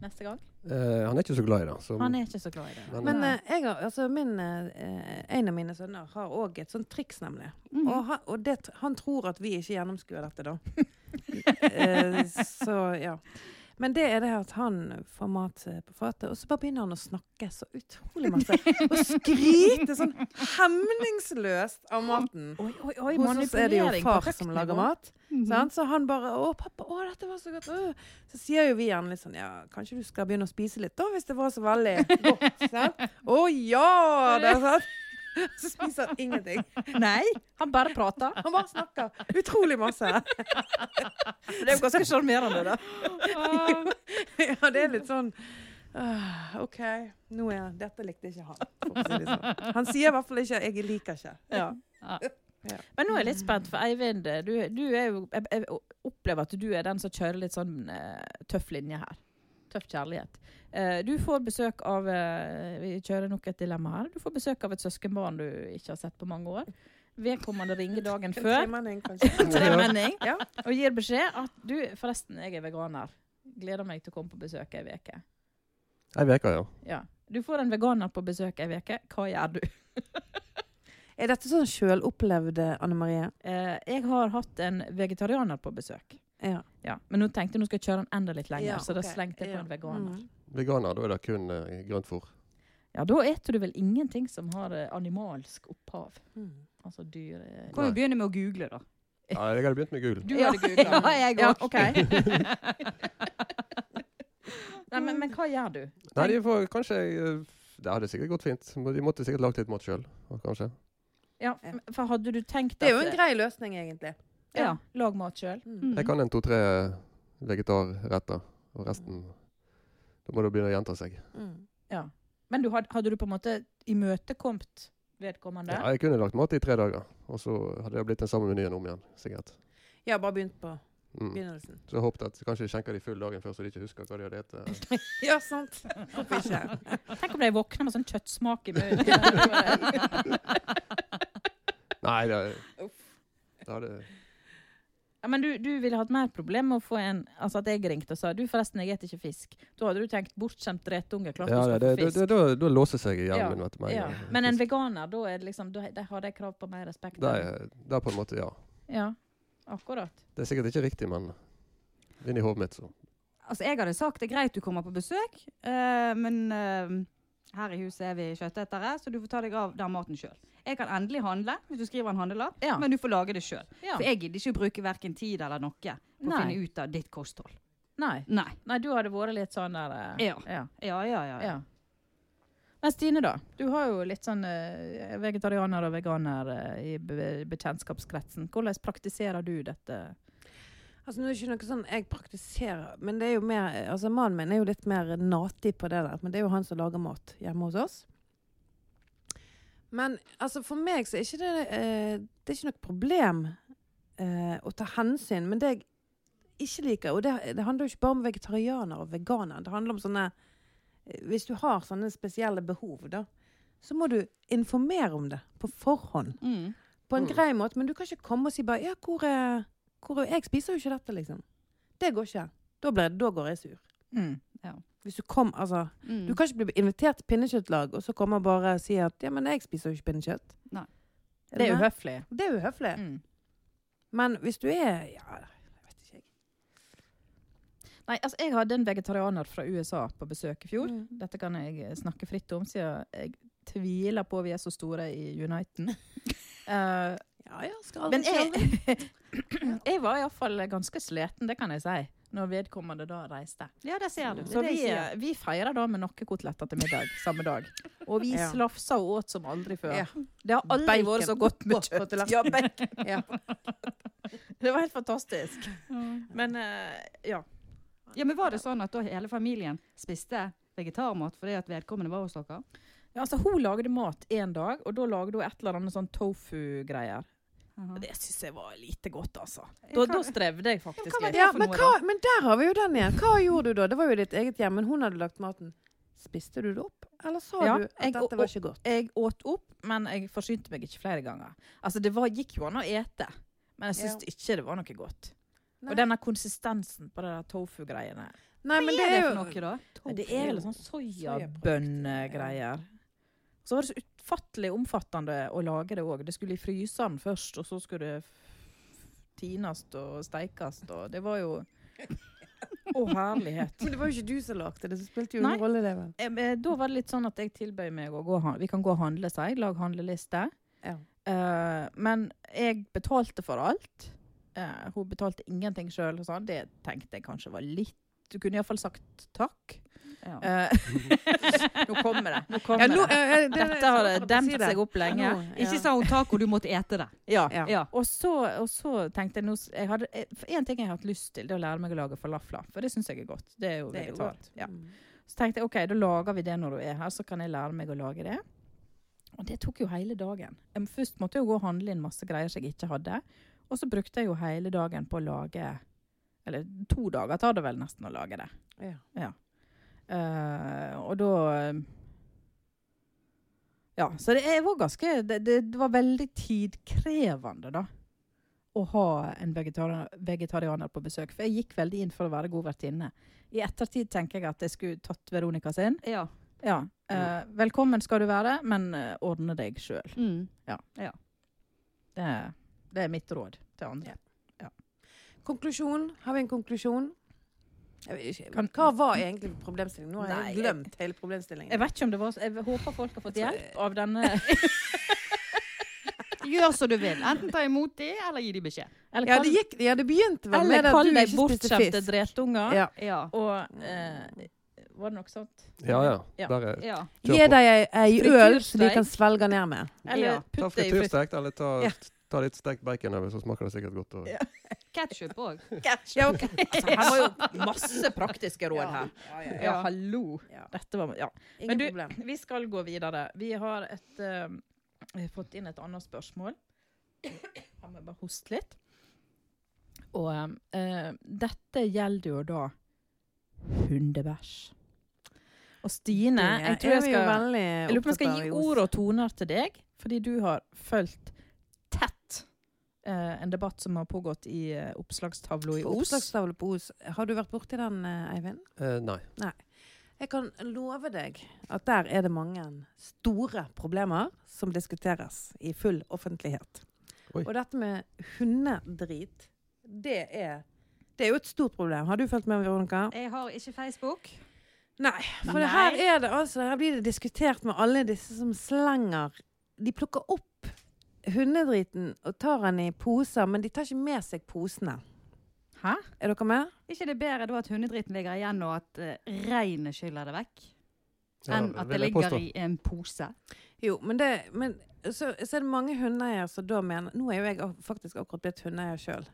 S2: Neste gang?
S5: eh, Han er ikke så glad i det. Så,
S2: Han er ikke så glad i det.
S5: Men-
S3: Men eh, jeg har, altså min, eh, en av mine sønner har òg et sånt triks, nemlig.
S4: Mhm.
S3: Og, han, og det, tr- han tror at vi ikke gjennomskuer dette, da. Eh, så ja. Men det er det at han får mat eh, på fatet, og så bare begynner han å snakke så utrolig masse. Og skryte sånn hemningsløst av maten.
S2: Oi, oi, oi,
S3: Hos oss er det jo
S2: manipulering på
S3: far
S2: høyt
S3: som
S2: nivå.
S3: lager mat.
S2: Mhm. Mm.
S3: sant? Så han bare 'Å, pappa, å, dette var så godt.' Å. Så sier jo vi gjerne litt sånn 'Ja, kanskje du skal begynne å spise litt, da, hvis det var så veldig godt.' sant? 'Å ja!' Det, er sant? Så spiser han ingenting.
S2: Nei, han bare prater.
S3: Han bare snakker utrolig masse.
S2: Det er jo ganske sjarmerende, da.
S3: ja, det er litt sånn «Ah, OK, nå er dette likte ikke han. for å si det sånn. Han sier i hvert fall ikke 'jeg liker ikke'.
S2: Ja. Men nå er jeg
S3: Mm.
S2: litt spent, for Eivind, eh, du, du er jo jeg, jeg opplever at du er den som kjører litt sånn eh, tøff linje her. Tøff kjærlighet. Eh, du får besøk av eh, Vi kjører nok et dilemma her. Du får besøk av et søskenbarn du ikke har sett på mange år. Vedkommende ringer dagen
S3: En
S2: før
S3: tremenning, kanskje.
S2: en tremenning
S3: Ja.
S2: og gir beskjed at du, forresten, jeg er veganer. Gleder meg til å komme på besøk ei uke.
S5: Ei uke, ja.
S2: Ja. Du får en veganer på besøk ei uke. Hva gjør du?
S3: Er dette sånn sjølopplevde, Anne Marie?
S2: Eh, jeg har hatt en vegetarianer på besøk.
S3: Ja.
S2: Ja, Men nå tenkte jeg nå skal jeg kjøre den enda litt lenger,
S3: Ja,
S2: så da
S3: ok.
S2: slengte jeg på
S3: Ja.
S2: en veganer.
S3: Mm.
S5: Veganer, da er det kun eh, grønt fôr.
S2: Ja, Da eter du vel ingenting som har eh, animalsk opphav?
S3: Mm.
S2: Altså dyr eh,
S4: Kan vi begynne med å google, da?
S5: Ja, jeg hadde begynt med gul.
S2: Du
S4: Ja,
S2: hadde googla.
S4: ja, jeg
S2: Ja,
S4: òg.
S2: ok. Nei, men, men hva gjør du?
S5: Nei, de får kanskje eh, Det hadde sikkert gått fint. Men De måtte sikkert lagd litt mat sjøl, kanskje.
S2: Ja, m- for hadde du tenkt at eh,
S3: Det er jo en grei løsning, egentlig.
S2: Ja, Lag mat sjøl.
S3: Mm.
S5: Jeg kan en to-tre vegetarretter, og resten Da må det begynne å gjenta seg.
S3: Mm.
S2: Ja. Men du hadde, hadde du på en måte imøtekommet vedkommende?
S5: Ja, jeg kunne lagt mat i tre dager, og så hadde det blitt den samme menyen om igjen. sikkert.
S3: Jeg har bare begynt på
S5: Mm.
S3: begynnelsen.
S5: Så jeg håpet at kanskje de skjenker de full dagen før, så de ikke husker hva de hadde spist.
S3: Ja, sant. Hvorfor ikke?
S2: Tenk om de våkner med sånn kjøttsmak i munnen.
S5: Nei, det, det hadde
S2: ja, men du, du ville hatt mer problem med å få en Altså at jeg ringte og sa du forresten, jeg spiser ikke fisk. Da hadde du tenkt bortskjemt drettunge, klart
S5: Ja,
S2: du
S5: det,
S2: skal
S5: det,
S2: få
S5: det,
S2: fisk.
S5: da, da låser seg hjernen
S2: Ja,
S5: min. Vet du, med en
S2: ja.
S5: gang.
S2: Men en veganer, da er det liksom, da da har de krav på mer respekt.
S5: det, er, det er på en måte, ja.
S2: Ja, akkurat.
S5: Det er sikkert ikke riktig, men inni hodet mitt, så.
S4: Altså, jeg hadde sagt det er greit du kommer på besøk, eh, men eh, her i huset er vi kjøttetere, så du får ta deg av den maten sjøl. Jeg kan endelig handle hvis du skriver en handlelapp,
S2: Ja.
S4: men du får lage det sjøl.
S2: Ja.
S4: For jeg gidder ikke å bruke verken tid eller noe på å
S2: Nei.
S4: finne ut av ditt kosthold.
S2: Nei.
S4: Nei.
S2: Nei, du hadde vært litt sånn der eh,
S4: Ja.
S2: ja.
S4: Ja, ja, ja. ja.
S2: Ja. Men Stine, da. Du har jo litt sånn eh, vegetarianer og veganer eh, i be- bekjentskapskretsen. Hvordan praktiserer du dette?
S3: Altså, nå er det ikke noe sånn jeg praktiserer, men det er jo mer Altså, mannen min er jo litt mer natig på det der, men det er jo han som lager mat hjemme hos oss. Men altså, for meg så er ikke det eh, Det er ikke noe problem eh, å ta hensyn, men det jeg ikke liker Og det, det handler jo ikke bare om vegetarianere og veganere. Det handler om sånne eh, Hvis du har sånne spesielle behov, da, så må du informere om det på forhånd
S4: Mm.
S3: på en
S5: Mm.
S3: grei måte, men du kan ikke komme og si bare Ja, hvor er, hvor er Jeg spiser jo ikke dette, liksom. Det går ikke. Da, blir, da går jeg sur.
S2: Mm.
S3: Hvis du kom, altså
S4: Mm.
S3: Du kan ikke bli invitert til pinnekjøttlag, og så komme og bare si at Ja, men jeg spiser jo ikke pinnekjøtt.
S4: Nei.
S3: Er
S2: Det er
S3: du med?
S2: uhøflig.
S3: Det er uhøflig.
S2: Mm.
S3: Men hvis du er Ja, jeg vet ikke, jeg.
S2: Nei, altså, jeg hadde en vegetarianer fra USA på besøk i fjor.
S3: Mm.
S2: Dette kan jeg eh, snakke fritt om, siden jeg tviler på vi er så store i Uniten. Eh,
S3: Ja ja, skal aldri
S2: Men jeg, Mm, jeg var iallfall ganske sliten, det kan jeg si, når vedkommende da reiste.
S4: Ja, der ser du. Det
S2: Så
S4: er det
S2: vi,
S4: jeg sier.
S2: vi feira da med noen koteletter til middag samme dag. Og vi
S3: Ja.
S2: slafsa og åt som aldri før.
S3: Ja.
S2: Det har aldri vært så godt med
S3: Bacon.
S2: kjøtt. Ja, bacon.
S3: Ja.
S2: Det var helt fantastisk. Men eh, ja.
S4: Ja, men Var det sånn at da hele familien spiste vegetarmat fordi at vedkommende var hos dere?
S2: ja. Altså, hun lagde mat én dag, og da lagde hun et eller annet sånn tofu-greier.
S4: Aha.
S2: Og Det syns jeg var lite godt, altså.
S4: Ja,
S2: Da,
S4: hva-
S2: da strevde jeg faktisk
S4: hva var
S2: litt.
S4: det
S3: Ja,
S4: for
S3: men,
S4: noe
S3: hva, men der har vi jo den igjen. Hva gjorde du da? Det var jo ditt eget hjem, men hun hadde lagt maten. Spiste du det opp, eller sa
S2: Ja,
S3: du at
S2: jeg-
S3: dette var ikke godt?
S2: Jeg åt opp, men jeg forsynte meg ikke flere ganger. Altså, det var, gikk jo an å ete, men jeg syns ikke det var noe godt.
S3: Nei.
S2: Og denne konsistensen på de der tofu-greiene
S3: Nei, men det er
S4: for
S3: jo
S4: noe, da?
S2: Nei, Det er vel sånn soyabønngreier. Så var det så utfattelig omfattende å lage det òg. Det skulle i fryseren først, og så skulle det f- tines og steikes, og det var jo Å, herlighet.
S3: Men det var jo ikke du som lagde det, så spilte jo
S2: Nei.
S3: ingen rolle, det vel.
S2: Eh, eh, Da var det litt sånn at jeg tilbød meg å gå og han- Vi kan gå og handle, sa jeg. Lag handleliste.
S3: Ja.
S2: Eh, men jeg betalte for alt. Eh, hun betalte ingenting sjøl. Sånn. Det tenkte jeg kanskje var litt Du kunne iallfall sagt takk.
S4: Ja.
S2: Eh, nå kommer det. Nå kommer
S3: Ja, nå,
S2: det.
S3: eh, eh, det- jeg
S2: Dette
S3: skal
S2: har
S3: akkurat
S2: demt
S3: si det.
S2: seg opp lenge.
S3: Nå, ja.
S4: Ikke sa hun taco, du måtte ete det.
S2: Ja.
S3: Ja.
S4: Ja.
S2: Og, så, og så tenkte jeg nå s- jeg hadde, eh, for En ting jeg har hatt lyst til, det er å lære meg å lage falafler. For det syns jeg er godt. Det er jo
S3: Det er jo
S2: vegetar. Ja.
S3: Mm.
S2: Så tenkte jeg ok, da lager vi det når du er her, så kan jeg lære meg å lage det. Og det tok jo hele dagen. Jeg, må- først måtte jeg jo gå og handle inn masse greier som jeg ikke hadde. Og så brukte jeg jo hele dagen på å lage Eller to dager tar det vel nesten å lage det.
S3: Ja.
S2: Eh, og da Ja, så det er- var ganske det, det, det var veldig tidkrevende, da. Å ha en vegetarianer, vegetarianer på besøk. For jeg gikk veldig inn for å være god vertinne. I ettertid tenker jeg at jeg skulle tatt Veronica sin.
S4: Ja.
S2: Ja.
S3: Mm.
S2: eh, velkommen skal du være, men eh, ordne deg sjøl.
S4: Mm.
S2: Det, er- det er mitt råd til andre.
S3: Konklusjon. Har vi en konklusjon? Jeg vet ikke.
S2: Kan-
S3: Hva var egentlig problemstillingen? Nå har jeg
S2: Nei,
S3: glemt hele problemstillingen.
S2: Jeg vet ikke om det var så- Jeg håper folk har fått
S3: Jeg tror-
S2: hjelp av denne.
S4: Gjør som du vil. Enten ta imot de, eller gi de beskjed.
S2: Eller
S3: Ja, det, gikk, ja, det begynte vel
S2: eller
S3: med at
S2: kall
S3: du
S2: deg
S3: ikke spiste
S2: bortskjemte
S3: fisk.
S2: dretunger.
S3: Ja.
S4: Ja.
S2: Og eh, var det noe sånt?
S5: Ja, ja.
S2: Ja.
S5: Der er
S4: ja.
S5: Kjør
S3: Gi
S5: på.
S3: deg ei- ei øl så de
S2: Frityrsteik.
S3: kan svelge ned med.
S2: Eller
S4: Ja.
S5: Ta
S2: putt det i fritt
S5: frityrstekt, eller ta,
S3: Ja.
S5: ta litt stekt bacon over, så smaker det sikkert godt. Og,
S2: Ja.
S4: Ketchup òg.
S2: Ja, ok. altså, her var jo masse praktiske råd her.
S3: ja,
S2: Ja, hallo.
S3: Ja.
S2: Dette var Ja.
S3: Ingen
S2: du-
S3: problem.
S2: Vi skal gå videre. Vi har et, eh, vi har fått inn et annet spørsmål. Her må jeg bare hoste litt. Og eh, dette gjelder jo da hundebæsj. Og Stine, jeg tror jeg skal Jeg lurer på om jeg skal gi ord og toner til deg, fordi du har fulgt tett eh, en debatt som har pågått i eh, oppslagstavla i Os.
S3: Oppslagstavle på Os. Har du vært borti den, eh, Eivind?
S5: Eh, nei.
S3: Jeg kan love deg at der er det mange store problemer som diskuteres i full offentlighet.
S5: Oi.
S3: Og dette med hundedrit, det er, det er jo et stort problem. Har du fulgt med, Veronica?
S4: Jeg har ikke Facebook.
S3: Nei, for
S4: Nei.
S3: det her er det altså Her blir det diskutert med alle disse som slenger De plukker opp hundedriten og tar den i poser, men de tar ikke med seg posene.
S2: Hæ?
S3: Er dere med?
S4: ikke det bedre da at hundedritten ligger igjen, og at eh, regnet skyller det vekk?
S5: Ja,
S4: enn at det
S5: vil jeg
S4: ligger
S5: påstå.
S4: i en pose?
S3: Jo, men det men, så, så er det mange hundeeiere som da mener Nå er jo jeg ak- faktisk akkurat blitt hundeeier sjøl.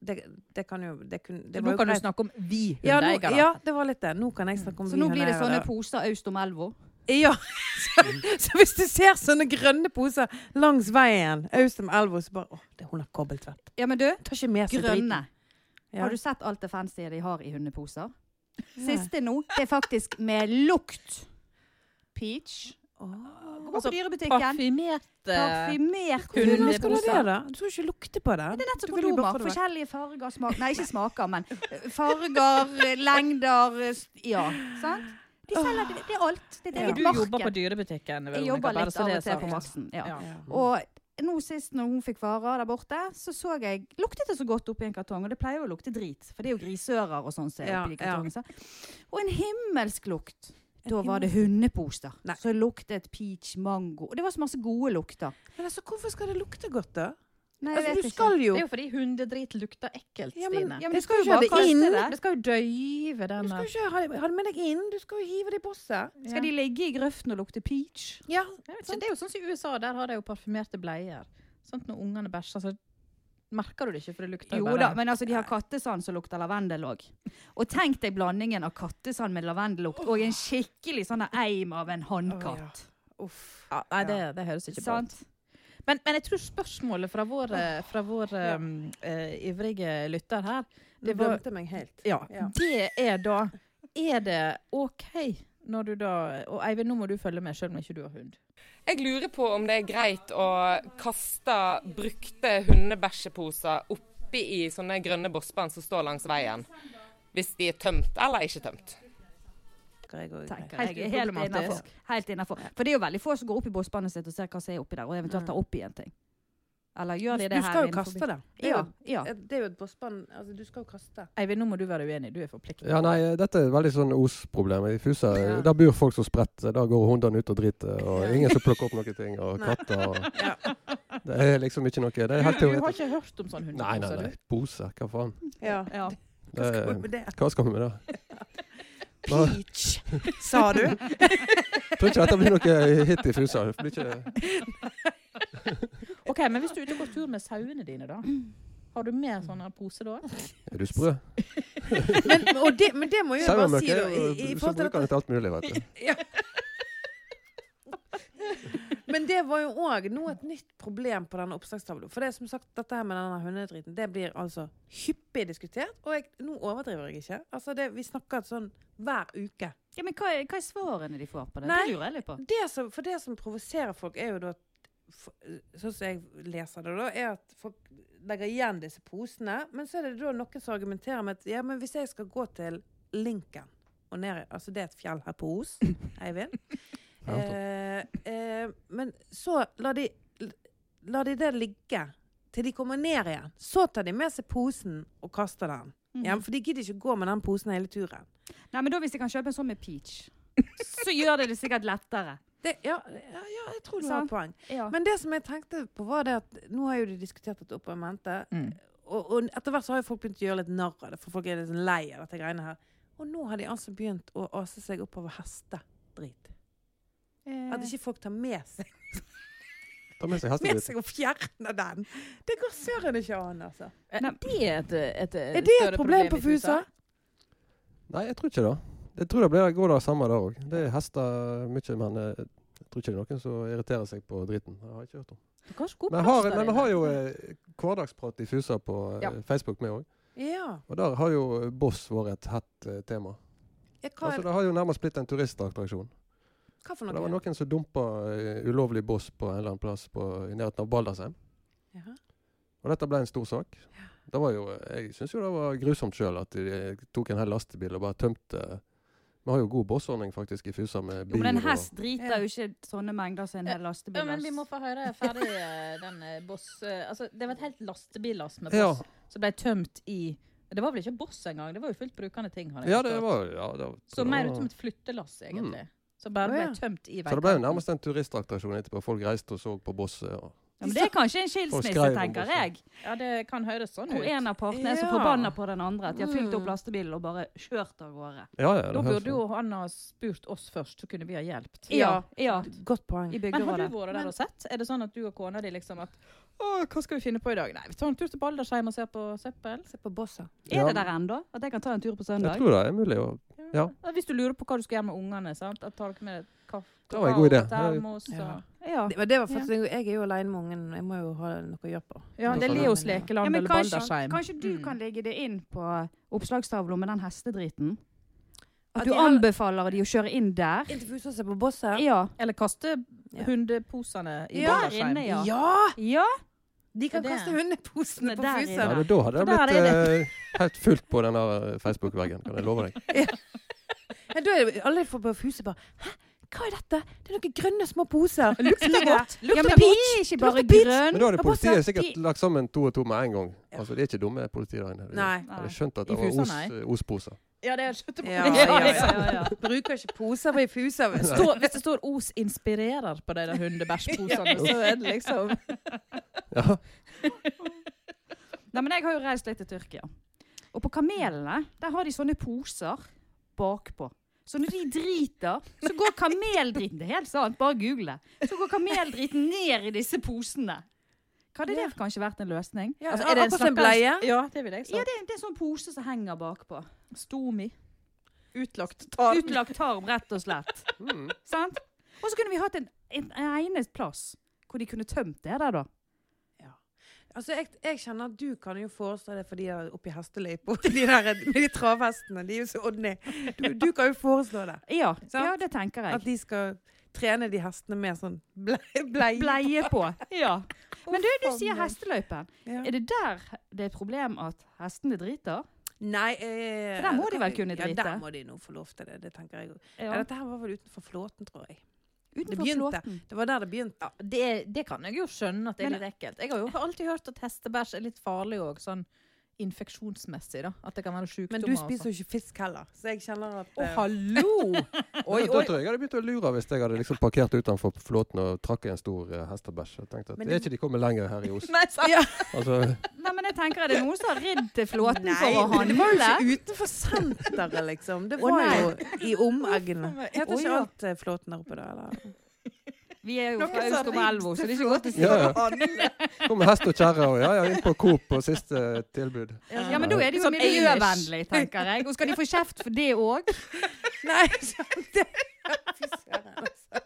S3: Det, det kan jo det, kun, det
S2: Så
S3: var
S2: nå
S3: jo
S2: kan du
S3: greit.
S2: snakke om vi
S3: ja, nå,
S2: hundeeiere.
S3: ja, det var litt det. Nå kan jeg snakke om
S4: Så nå blir det sånne
S3: da.
S4: poser øst om elva?
S3: Ja, så, så hvis du ser sånne grønne poser langs veien, øst om elva, så bare Å, det- hun har kobbeltvett.
S4: Ja, men du,
S3: Tar ikke med seg driten.
S4: grønne.
S3: Ja.
S4: Har du sett alt det fancy de har i hundeposer? Siste nå, det er faktisk med lukt. Peach. Gå på
S2: Altså,
S4: dyrebutikken.
S2: Parfymerte
S4: eh, Parfymert
S2: Hundepose.
S3: Hvordan skal du
S4: hundeposer.
S3: det, da? Du skal ikke lukte på det.
S4: Det er nettopp
S3: Du kan jo bare
S4: kondomer.
S3: få det vekk.
S4: Forskjellige farger, smak Nei, ikke smaker, men farger, lengder eh, s- Ja. Sant? De selger det. Det er alt. Det er et
S3: Ja.
S2: eget
S4: eget
S2: Du jobber på
S4: marked.
S2: dyrebutikken.
S4: Jeg
S2: Veronica,
S4: jobber
S2: bare
S4: litt
S2: så
S4: av
S2: det
S4: og
S2: er
S4: til på
S2: sagt.
S4: Maxen. Ja.
S2: Ja.
S4: Og nå sist når hun fikk varer der borte, så så jeg Luktet det så godt oppi en kartong? Og det pleier jo å lukte drit, for det er jo grisører og sånn som er
S3: Ja,
S4: oppi de
S3: ja.
S4: kartongene. sant? Og en himmelsk lukt.
S3: En
S4: Da var det
S3: himmel-
S4: hundeposer.
S3: Nei.
S4: Så luktet peach, mango Og det var så masse gode lukter.
S3: Men altså, hvorfor skal det lukte godt, da?
S4: Nei, jeg
S3: Altså,
S4: vet
S3: du
S4: ikke.
S3: skal jo
S2: Det er jo fordi hundedrit lukter ekkelt,
S3: Ja, men-
S2: Stine.
S4: ja, men
S3: Jeg
S4: du
S3: skal
S4: skal jo
S3: jo ha
S4: bare
S3: det
S4: kaste
S3: inn.
S4: det.
S2: Det skal jo døyve
S3: Du
S2: den
S3: skal jo ikke ha det, ha det med deg inn, du skal jo hive det i bosset.
S4: Skal de ligge i grøften og lukte peach?
S3: Ja.
S2: Jeg vet ikke, Det er jo sånn som i USA, der har de jo parfymerte bleier. Sånn at når ungene bæsjer, så Merker du det ikke, for det lukter jo
S4: Jo
S2: bare
S4: da, men altså, de har kattesand som lukter lavendel òg. Og tenk deg blandingen av kattesand med lavendellukt og en skikkelig sånn der eim av en hannkatt.
S3: Uff.
S2: ja, Nei, det, det høres ikke bra ut.
S4: Sant?
S2: Men, men jeg tror spørsmålet fra vår, eh, fra vår
S3: Ja.
S2: em, eh, ivrige lytter her, det
S3: Det
S2: var
S3: glemte meg helt.
S2: ja,
S3: Ja.
S2: Det er da Er det OK når du da Og Eivind, nå må du følge med, selv om ikke du har hund.
S6: Jeg lurer på om det er greit å kaste brukte hundebæsjeposer oppi i sånne grønne bossband som står langs veien. Hvis de er tømt eller ikke tømt.
S3: Jeg går greit.
S4: Helt
S2: jeg er
S4: helt
S2: uproblematisk.
S4: innenfor. Helt innenfor. For det er jo veldig få som går opp i båsbanen sitt og ser hva som er oppi der, og eventuelt tar oppi en ting. Eller gjør de det
S3: Du
S4: her
S3: skal jo
S4: innenfor-
S3: kaste det. Det er
S4: Ja,
S3: jo-
S4: ja.
S3: Det er jo et bossband Altså, du skal jo kaste.
S2: Eivind, nå må du være uenig. Du er forpliktet.
S5: Ja, nei, dette er veldig sånn Os-problem. I Fusa
S3: Ja.
S5: der bor folk så spredt. Da går hundene ut og driter, og ingen som plukker opp noen ting. Og
S3: Nei.
S5: katter og Det er liksom ikke noe Det er helt
S2: Du, du har
S5: teoretisk.
S2: ikke hørt om sånn hund?
S5: Nei, nei, nei. Poser, hva faen.
S3: Ja.
S4: Ja.
S5: Det,
S3: Hva skal du med det?
S5: hva skal vi med det? Nå,
S3: Peach, sa du?
S5: jeg tror ikke dette blir noe hit i Fusa. Det blir ikke
S2: Ok, Men hvis du er ute og går tur med sauene dine, da? Har du med sånne pose da?
S5: Er du sprø?
S3: Men, og det, men det må jeg jo bare si, da.
S5: Sauemøkk er
S3: I,
S5: jo
S3: i
S5: Så
S3: forhold til
S5: eh, bruker han
S3: dette.
S5: til alt mulig, vet du.
S3: Men det var jo òg noe et nytt problem på denne oppslagstavla. For det er som sagt, dette her med denne hundedriten, det blir altså hyppig diskutert. Og jeg, nå overdriver jeg ikke. Altså, det, vi snakker sånn hver uke.
S4: ja, men hva er, hva er svarene de får på det?
S3: Nei.
S4: Det lurer jeg litt på.
S3: Det som, for det som provoserer folk, er jo da for- Sånn som jeg leser det, da, er at folk legger igjen disse posene. Men så er det da noen som argumenterer med at ja, men hvis jeg skal gå til Lincoln og ned, Altså det er et fjell her på Os, Eivind.
S5: Ja,
S3: eh, eh, men så lar de, lar de det ligge til de kommer ned igjen. Så tar de med seg posen og kaster den. Ja, for de gidder ikke gå med den posen hele turen.
S4: Nei, men da Hvis jeg kan kjøpe en sånn med peach, så gjør det det sikkert lettere.
S3: Det, ja, ja, ja, jeg tror du har
S4: Sant.
S3: et poeng.
S4: Ja.
S3: Men det som jeg tenkte på var det at nå har jo de diskutert dette oppe i mente,
S2: Mm.
S3: og, og etter hvert så har jo folk begynt å gjøre litt narr av det, for folk er litt sånn lei av dette greiene her. Og nå har de altså begynt å ase seg oppover hestedrit. At ikke folk tar med seg,
S5: Ta med seg hesten
S3: med
S5: litt.
S3: seg og fjerner den. Det går søren ikke an, altså.
S2: Eh, Det er et, et,
S3: Er det
S2: større
S3: et problem på
S2: i
S3: Fusa?
S5: Nei, jeg tror ikke det. Jeg tror det blir, går det samme der òg. Det er hester mye, men eh, jeg tror ikke det er noen som irriterer seg på driten. Jeg har ikke hørt om.
S2: Det er kanskje god
S5: Men
S2: plass
S5: har-
S2: der
S5: men vi
S2: inne.
S5: har jo eh, hverdagsprat i Fusa på eh,
S2: Ja.
S5: Facebook med òg.
S3: Ja.
S5: Og der har jo eh, Boss vært et hett eh, tema.
S3: ja hva,
S5: Altså,
S3: er,
S5: det har jo nærmest blitt en turistattraksjon.
S3: hva for
S5: Og det var
S3: noe?
S5: noen som dumpa eh, ulovlig Boss på en eller annen plass på, i nærheten av Baldersheim.
S3: Jaha.
S5: Og dette ble en stor sak. Det var jo, jeg syns jo det var grusomt sjøl at de eh, tok en hel lastebil og bare tømte Vi har jo god bossordning faktisk i Fusa med
S4: Jo,
S5: bil.
S4: men en
S5: og-
S4: hest driter jo ikke sånne mengder som en hel lastebil. altså.
S2: Ja, men Vi må
S4: ass.
S2: få høre ferdig eh, den eh, boss... eh, Altså, det var et helt lastebillass med
S5: Ja.
S2: boss som ble tømt i Det var vel ikke boss engang, det var jo fullt brukende ting. Har jeg
S5: Ja, det
S2: forstått.
S5: var ja, det var,
S2: Så mer ut som et flyttelass, egentlig. Som bare
S3: Å,
S2: ble
S3: ja.
S2: tømt i
S5: Så det ble jo
S2: veikanten.
S5: nærmest en turistattraksjon etterpå. Folk reiste og så på bosset. Og,
S4: Ja, men det er kanskje en skilsmisse,
S5: skrev om
S4: tenker
S5: bossen.
S4: jeg.
S2: Ja, det kan høres sånn
S4: Hvor
S2: ut.
S4: en av partene er så
S3: Ja.
S4: forbanna på den andre at de har fylt opp
S3: Mm.
S4: lastebilen og bare kjørt av gårde.
S5: ja, ja, det
S2: Da
S5: høres
S2: burde
S5: sånn.
S2: jo han ha spurt oss først, så kunne vi ha hjulpet.
S4: Ja, ja.
S3: Godt poeng.
S4: I
S2: Men har du
S4: bygderådet.
S2: vært der og sett? Er det sånn at du og kona di liksom at Å, hva skal vi finne på i dag? Nei, vi tar en tur til Baldersheim og ser på søppel.
S3: Se på bossa.
S4: Er
S5: Ja.
S4: det der ennå? At jeg kan ta en tur på
S5: Jeg
S4: søndag?
S5: tror det er mulig å Ja.
S2: Ja, Hvis du lurer på hva du skal gjøre med ungene, sant? At tar dere med deg kaffe,
S5: Det var en god idé.
S2: termos og
S3: Ja.
S4: Ja.
S3: Det, men det var faktisk, Jeg er jo aleine med ungen, jeg må jo ha noe å gjøre på.
S2: Ja, det er
S5: sånn.
S2: Leos lekeland
S4: Ja, men
S2: eller
S4: kanskje,
S2: Baldersheim.
S4: kanskje du
S2: Mm.
S4: kan legge det inn på oppslagstavla med den hestedriten?
S3: At
S4: At du
S3: de har-
S4: anbefaler de å kjøre inn der?
S3: Inn til Fusa og se på bossa?
S4: Ja.
S2: Eller kaste
S3: Ja.
S2: hundeposene i
S3: Ja,
S4: Der
S2: Baldersheim.
S4: inne, ja.
S3: ja!
S4: Ja,
S3: De kan
S2: Det-
S3: kaste hundeposene på
S4: Der er
S5: ja,
S3: Fusa.
S4: det.
S5: men Da hadde det
S2: For der
S5: blitt
S2: er
S5: eh, helt fullt på den der eh, Facebook-veggen, kan jeg love deg.
S3: Men da er det alle får på Fusa bare Hæ, hva er dette? Det er noen grønne små poser.
S4: lukter godt. Ja, men
S3: godt.
S4: de er ikke bare
S3: Lukter peach.
S4: grønn.
S5: Men da hadde
S3: Ja,
S5: politiet
S3: bossa,
S5: sikkert
S3: de-
S5: lagt sammen to og to med en gang. Altså, Det er ikke dumme politi der inne.
S3: Nei.
S5: Jeg hadde skjønt at det
S2: I
S5: var
S2: Fusa,
S5: os,
S2: nei.
S5: osposer.
S2: Ja, det er skjønt.
S3: Ja,
S4: Ja,
S3: ja,
S4: ja, ja, ja.
S3: Bruker ikke poser på Fusa. vet du.
S2: Står- hvis det står 'Os inspirerer' på de der hundebæsjposene,
S3: sånn,
S2: så er det liksom
S5: Ja.
S4: Nei, men jeg har jo reist litt til Tyrkia. Og på kamelene, der har de sånne poser bakpå. Så når de driter, så går kameldriten Det er helt sant, bare google. Så går kameldriten ned i disse posene. Hadde
S3: Ja.
S4: det kanskje vært en løsning?
S3: Ja,
S2: Altså,
S3: altså,
S2: er det en
S3: akkurat som en
S2: slags-
S3: bleie.
S2: Ja, det vil jeg
S4: Ja,
S2: sagt.
S4: det, er- det er en sånn pose som henger bakpå.
S2: Stomi. Utlagt tarm.
S4: Utlagt tarm, rett og slett.
S5: Mm.
S4: Sant? Og så kunne vi hatt en, en, en egnet plass hvor de kunne tømt det der, da.
S3: Altså, jeg, jeg kjenner at du kan jo forestå det for de der oppe i hesteløypa. De der med de travhestene. De er jo så Odny. Du, du kan jo foreslå det.
S4: Ja,
S3: Sant?
S4: ja det tenker
S3: At
S4: jeg.
S3: de skal trene de hestene med sånn bleie. bleie.
S4: Bleie på. Ja. Men du, du
S3: Å,
S4: sier
S3: faen meg.
S4: hesteløypen.
S3: Ja.
S4: Er det der det er et problem at hestene driter?
S3: Nei eh,
S4: For der må de vel kunne
S3: Ja,
S4: drite?
S3: der må de nå få lov til det. Det tenker jeg òg. Ja.
S4: Ja.
S3: Dette her var vel utenfor Flåten, tror jeg.
S4: Utenfor
S3: begynte.
S4: flåten.
S3: Det var der det begynte.
S2: Det, det kan jeg jo skjønne at det er
S4: Men-
S2: litt ekkelt. Jeg har jo alltid hørt at hestebæsj er litt farlig òg, sånn infeksjonsmessig. da. At det kan være sånn.
S3: Men
S2: sjukdommer.
S4: altså.
S3: du spiser jo ikke fisk heller, så jeg kjenner at
S2: Å,
S3: eh,
S2: hallo! Oi,
S5: Da
S2: oi.
S5: tror jeg jeg hadde begynt å lure hvis jeg hadde liksom parkert utenfor flåten og trakk i en stor eh, hestebæsj. Jeg tenkte at
S3: Men
S5: det er
S3: det-
S5: ikke de kommer lenger her i Os.
S2: Nei, sant?
S5: Altså,
S4: Nei, men jeg tenker er det noen som har ridd til flåten
S3: Nei,
S4: for å
S3: det var jo
S4: handle?
S3: ikke utenfor senteret, liksom. Det
S4: Å,
S3: var
S4: nei.
S3: jo i omeggene.
S2: meg.
S3: Heter
S2: Å,
S3: ikke
S2: ja.
S3: alt eh, Flåten der oppe, da? Eller?
S4: Vi er jo
S2: Noen
S4: fra
S2: som har
S4: Aust og Melvo, så det er ikke godt å si.
S5: ja, ja. Kommer hest og kjerre og ja, ja, inn på Coop på siste eh, tilbud.
S4: Ja, men da er det jo
S2: Sånn
S4: miljøvennlig, tenker jeg. Og skal de få kjeft for det òg?
S3: Nei, sant det. Fy søren, altså.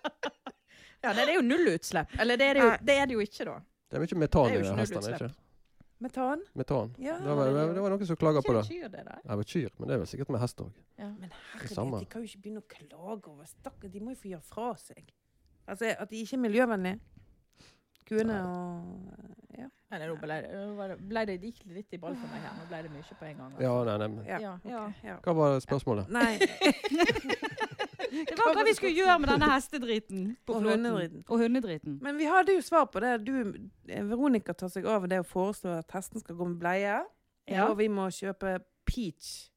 S2: Ja, nei, det er jo nullutslipp. Eller det er det jo, det er det jo ikke, da.
S5: Det er mye metan
S2: Det
S5: i
S2: er jo
S5: de
S2: ikke
S5: hestene,
S2: nullutslipp.
S5: ikke?
S3: Metan?
S5: Metan.
S3: Ja.
S5: Det var, det var noen som klaga på
S2: Ikke
S5: det.
S2: kyr, det der.
S5: Nei, det var kyr, men det er vel sikkert med hest òg.
S3: Men herregud,
S5: samme.
S3: de kan jo ikke begynne å klage over Stakkar, de må jo få gjøre fra seg. Altså, at de ikke er miljøvennlige. Kuene og
S2: Nei, nei, nå ble det, nå var det, ble det, det gikk litt i ball for meg her. Nå ble det mye på en gang. altså.
S5: Ja, nei, nei. men-
S3: Ja.
S2: Ja.
S3: ja. ja.
S5: Hva var spørsmålet?
S3: Nei.
S4: Det var hva vi skulle gjøre med denne hestedriten. På
S3: Og
S4: flåten.
S3: hundedriten.
S4: Og hundedriten.
S3: Men vi hadde jo svar på det. Du, eh, Veronica tar seg av det å foreslå at hesten skal gå med bleie. Eh,
S4: Ja.
S3: Og vi må kjøpe peach.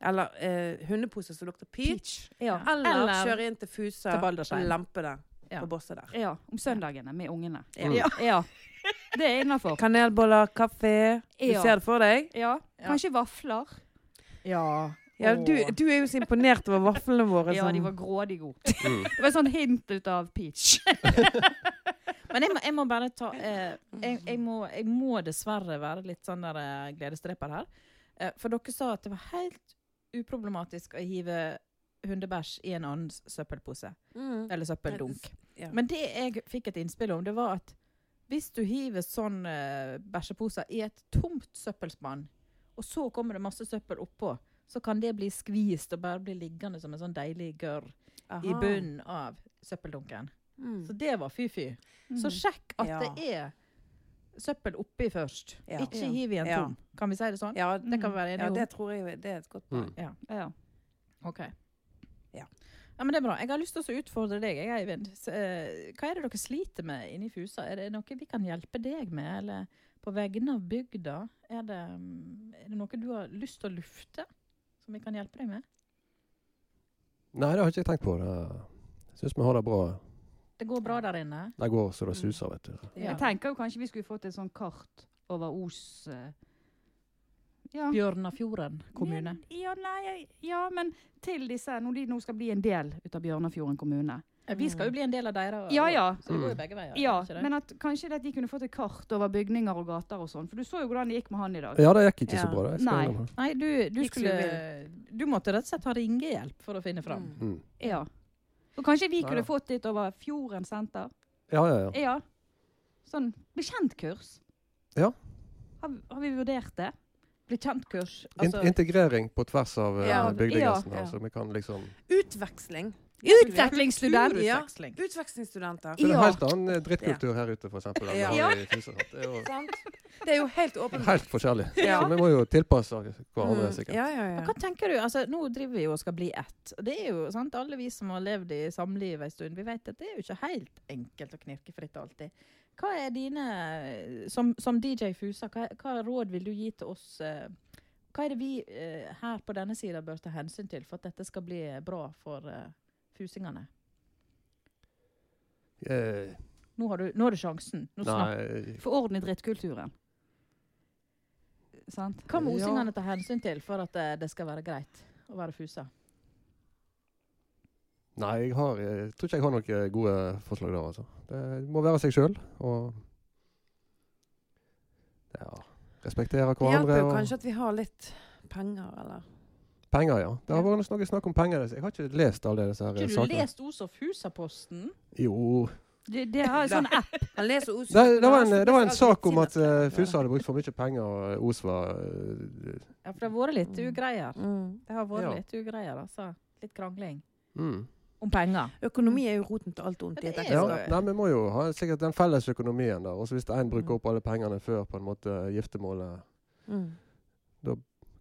S3: Eller eh, hundeposer som lukter peach.
S4: Ja.
S3: Eller,
S4: Eller-
S3: kjøre inn til Fusa
S2: Til
S3: og
S2: Baldersheim.
S3: lampe det
S2: Ja.
S3: på bosset der.
S4: Ja, om søndagene med ungene.
S5: Ja.
S4: Ja. Det er innafor.
S3: Kanelboller, kaffe. Du
S4: Ja.
S3: ser det for deg?
S4: Ja.
S2: Ja.
S4: Kanskje vafler.
S2: Ja.
S3: Ja,
S2: Åh.
S3: du, du er jo så imponert over vaflene våre.
S4: Ja,
S3: som-
S5: sånn-
S4: de var grådig gode.
S5: Mm.
S4: Det var et sånt hint ut av peach.
S2: Men jeg må, jeg må bare ta eh,
S3: Mm.
S2: jeg, jeg, må, jeg må dessverre være litt sånn der eh, gledesdreper her. Eh, for dere sa at det var helt uproblematisk å hive hundebæsj i en annens søppelpose.
S3: Mm.
S2: Eller søppeldunk.
S3: Ja.
S2: Men det jeg fikk et innspill om, det var at hvis du hiver sånn eh, bæsjeposer i et tomt søppelspann, og så kommer det masse søppel oppå, så kan det bli skvist og bare bli liggende som en sånn deilig gørr
S3: Aha.
S2: i bunnen av søppeldunken.
S3: Mm.
S2: Så det var fy-fy.
S5: Mm.
S4: Mm.
S2: Så sjekk at
S3: Ja.
S2: det er søppel oppi først.
S3: Ja.
S2: Ikke
S4: Ja.
S2: hiv i en
S3: Ja.
S2: tom. Kan vi si det sånn?
S3: Ja, Mm.
S2: Det kan vi være
S3: ja,
S2: enige om.
S3: det tror jeg jo- det er et godt poeng.
S5: Mm.
S4: Ja.
S2: Ok.
S3: Ja.
S2: Ja, men det er bra. Jeg har lyst til å utfordre deg, jeg, Eivind. Så, eh, Hva er det dere sliter med inni Fusa? Er det noe vi kan hjelpe deg med, eller på vegne av bygda? Er det, mm, er det noe du har lyst til å lufte, som vi kan hjelpe deg med?
S5: Nei, det har ikke jeg tenkt på. Jeg syns vi har det bra.
S2: Det går bra der inne.
S5: Det går så det suser, vet du.
S2: Ja.
S4: Jeg tenker jo kanskje vi skulle fått et sånt kart over Os eh, Ja.
S2: Bjørnafjorden kommune.
S4: Ja, nei, jeg- ja, men til disse, når de nå skal bli en del ut av Bjørnafjorden kommune.
S2: Eh, Vi skal jo bli en del av deres.
S4: Ja, ja.
S2: Så det går jo begge veier.
S4: Ja,
S2: ikke det?
S4: men at kanskje det at de kunne fått et kart over bygninger og gater og sånn. For du så jo hvordan det gikk med han i dag.
S5: Ja, det gikk ikke så
S3: Ja.
S5: bra. Det. Jeg skal
S4: Nei.
S5: innrømme det.
S2: Nei, du, du
S3: Gikk
S2: skulle
S3: som
S2: Du måtte rett og slett ha ringehjelp for å finne fram.
S3: Mm.
S5: Mm.
S4: Ja. Og kanskje vi
S5: Neida.
S4: kunne fått litt over Fjorden senter.
S5: Ja, ja, ja.
S4: Ja. Sånn bekjentkurs.
S5: Ja.
S4: Har, har vi vurdert det?
S2: Bli kjent-kurs.
S5: In
S2: Altså,
S5: integrering på tvers av eh,
S3: Ja,
S5: bygdegrensene.
S3: ja.
S5: Så vi kan liksom
S3: Utveksling.
S4: Utvekslingsstudent!
S3: Ja.
S2: utveksling.
S3: Utvekslingsstudenter.
S5: Det er en
S4: Ja.
S5: helt annen eh, drittkultur her ute, f.eks.
S3: Ja.
S5: Ja. Det er jo
S3: Sant? Det er jo helt åpenbart.
S5: helt forskjellig.
S3: Ja.
S5: Så vi må jo tilpasse hverandre,
S3: Mm.
S5: sikkert.
S3: Ja, ja, ja.
S2: Hva tenker du? Altså, nå driver vi jo og skal bli ett. Og Det er jo, sant? Alle vi som har levd i samliv en stund, vi vet at det er jo ikke helt enkelt å knirke fritt alltid. Hva er dine, som, som DJ Fusa, hva, hva råd vil du gi til oss? eh, Hva er det vi eh, her på denne sida bør ta hensyn til for at dette skal bli bra for eh, fusingene?
S5: Eh,
S2: Nå har du, nå har du sjansen. Nå snakker
S5: nei
S4: Få orden i drittkulturen. Sant?
S2: Hva må
S5: Ja.
S2: osingene ta hensyn til for at eh, det skal være greit å være fusa?
S5: Nei, jeg har, eh, jeg tror ikke jeg har noen gode forslag der, altså. Det må være seg sjøl og Ja. Respektere
S3: Det hjelper
S5: hverandre.
S3: jo
S5: og...
S3: kanskje at vi har litt penger, eller
S5: Penger, ja. Det har vært noe snakk om penger. Jeg har ikke lest alle disse her
S2: Har ikke du
S5: sakene.
S2: lest Os og Fusa-posten?
S5: Jo
S4: Det, det har en sånn app.
S3: Han leser Os-
S5: Det, det, var en,
S3: leser
S5: det var en
S3: alt
S5: sak om
S3: sine
S5: at
S3: steder.
S5: eh, Fusa hadde brukt for mye penger, og Os var eh,
S2: Ja, for det har vært litt ugreier.
S3: Mm.
S2: Det har vært
S5: Ja.
S2: litt ugreier, altså. Litt krangling.
S5: mm.
S2: Om penger.
S3: Økonomi er jo roten til alt ondt i
S2: Ja,
S3: et
S2: det er
S5: Ja,
S2: jo-
S3: ekteskap.
S5: nei, vi må jo ha sikkert den felles økonomien der. Og så hvis én bruker opp alle pengene før på en måte giftermålet,
S3: Mm.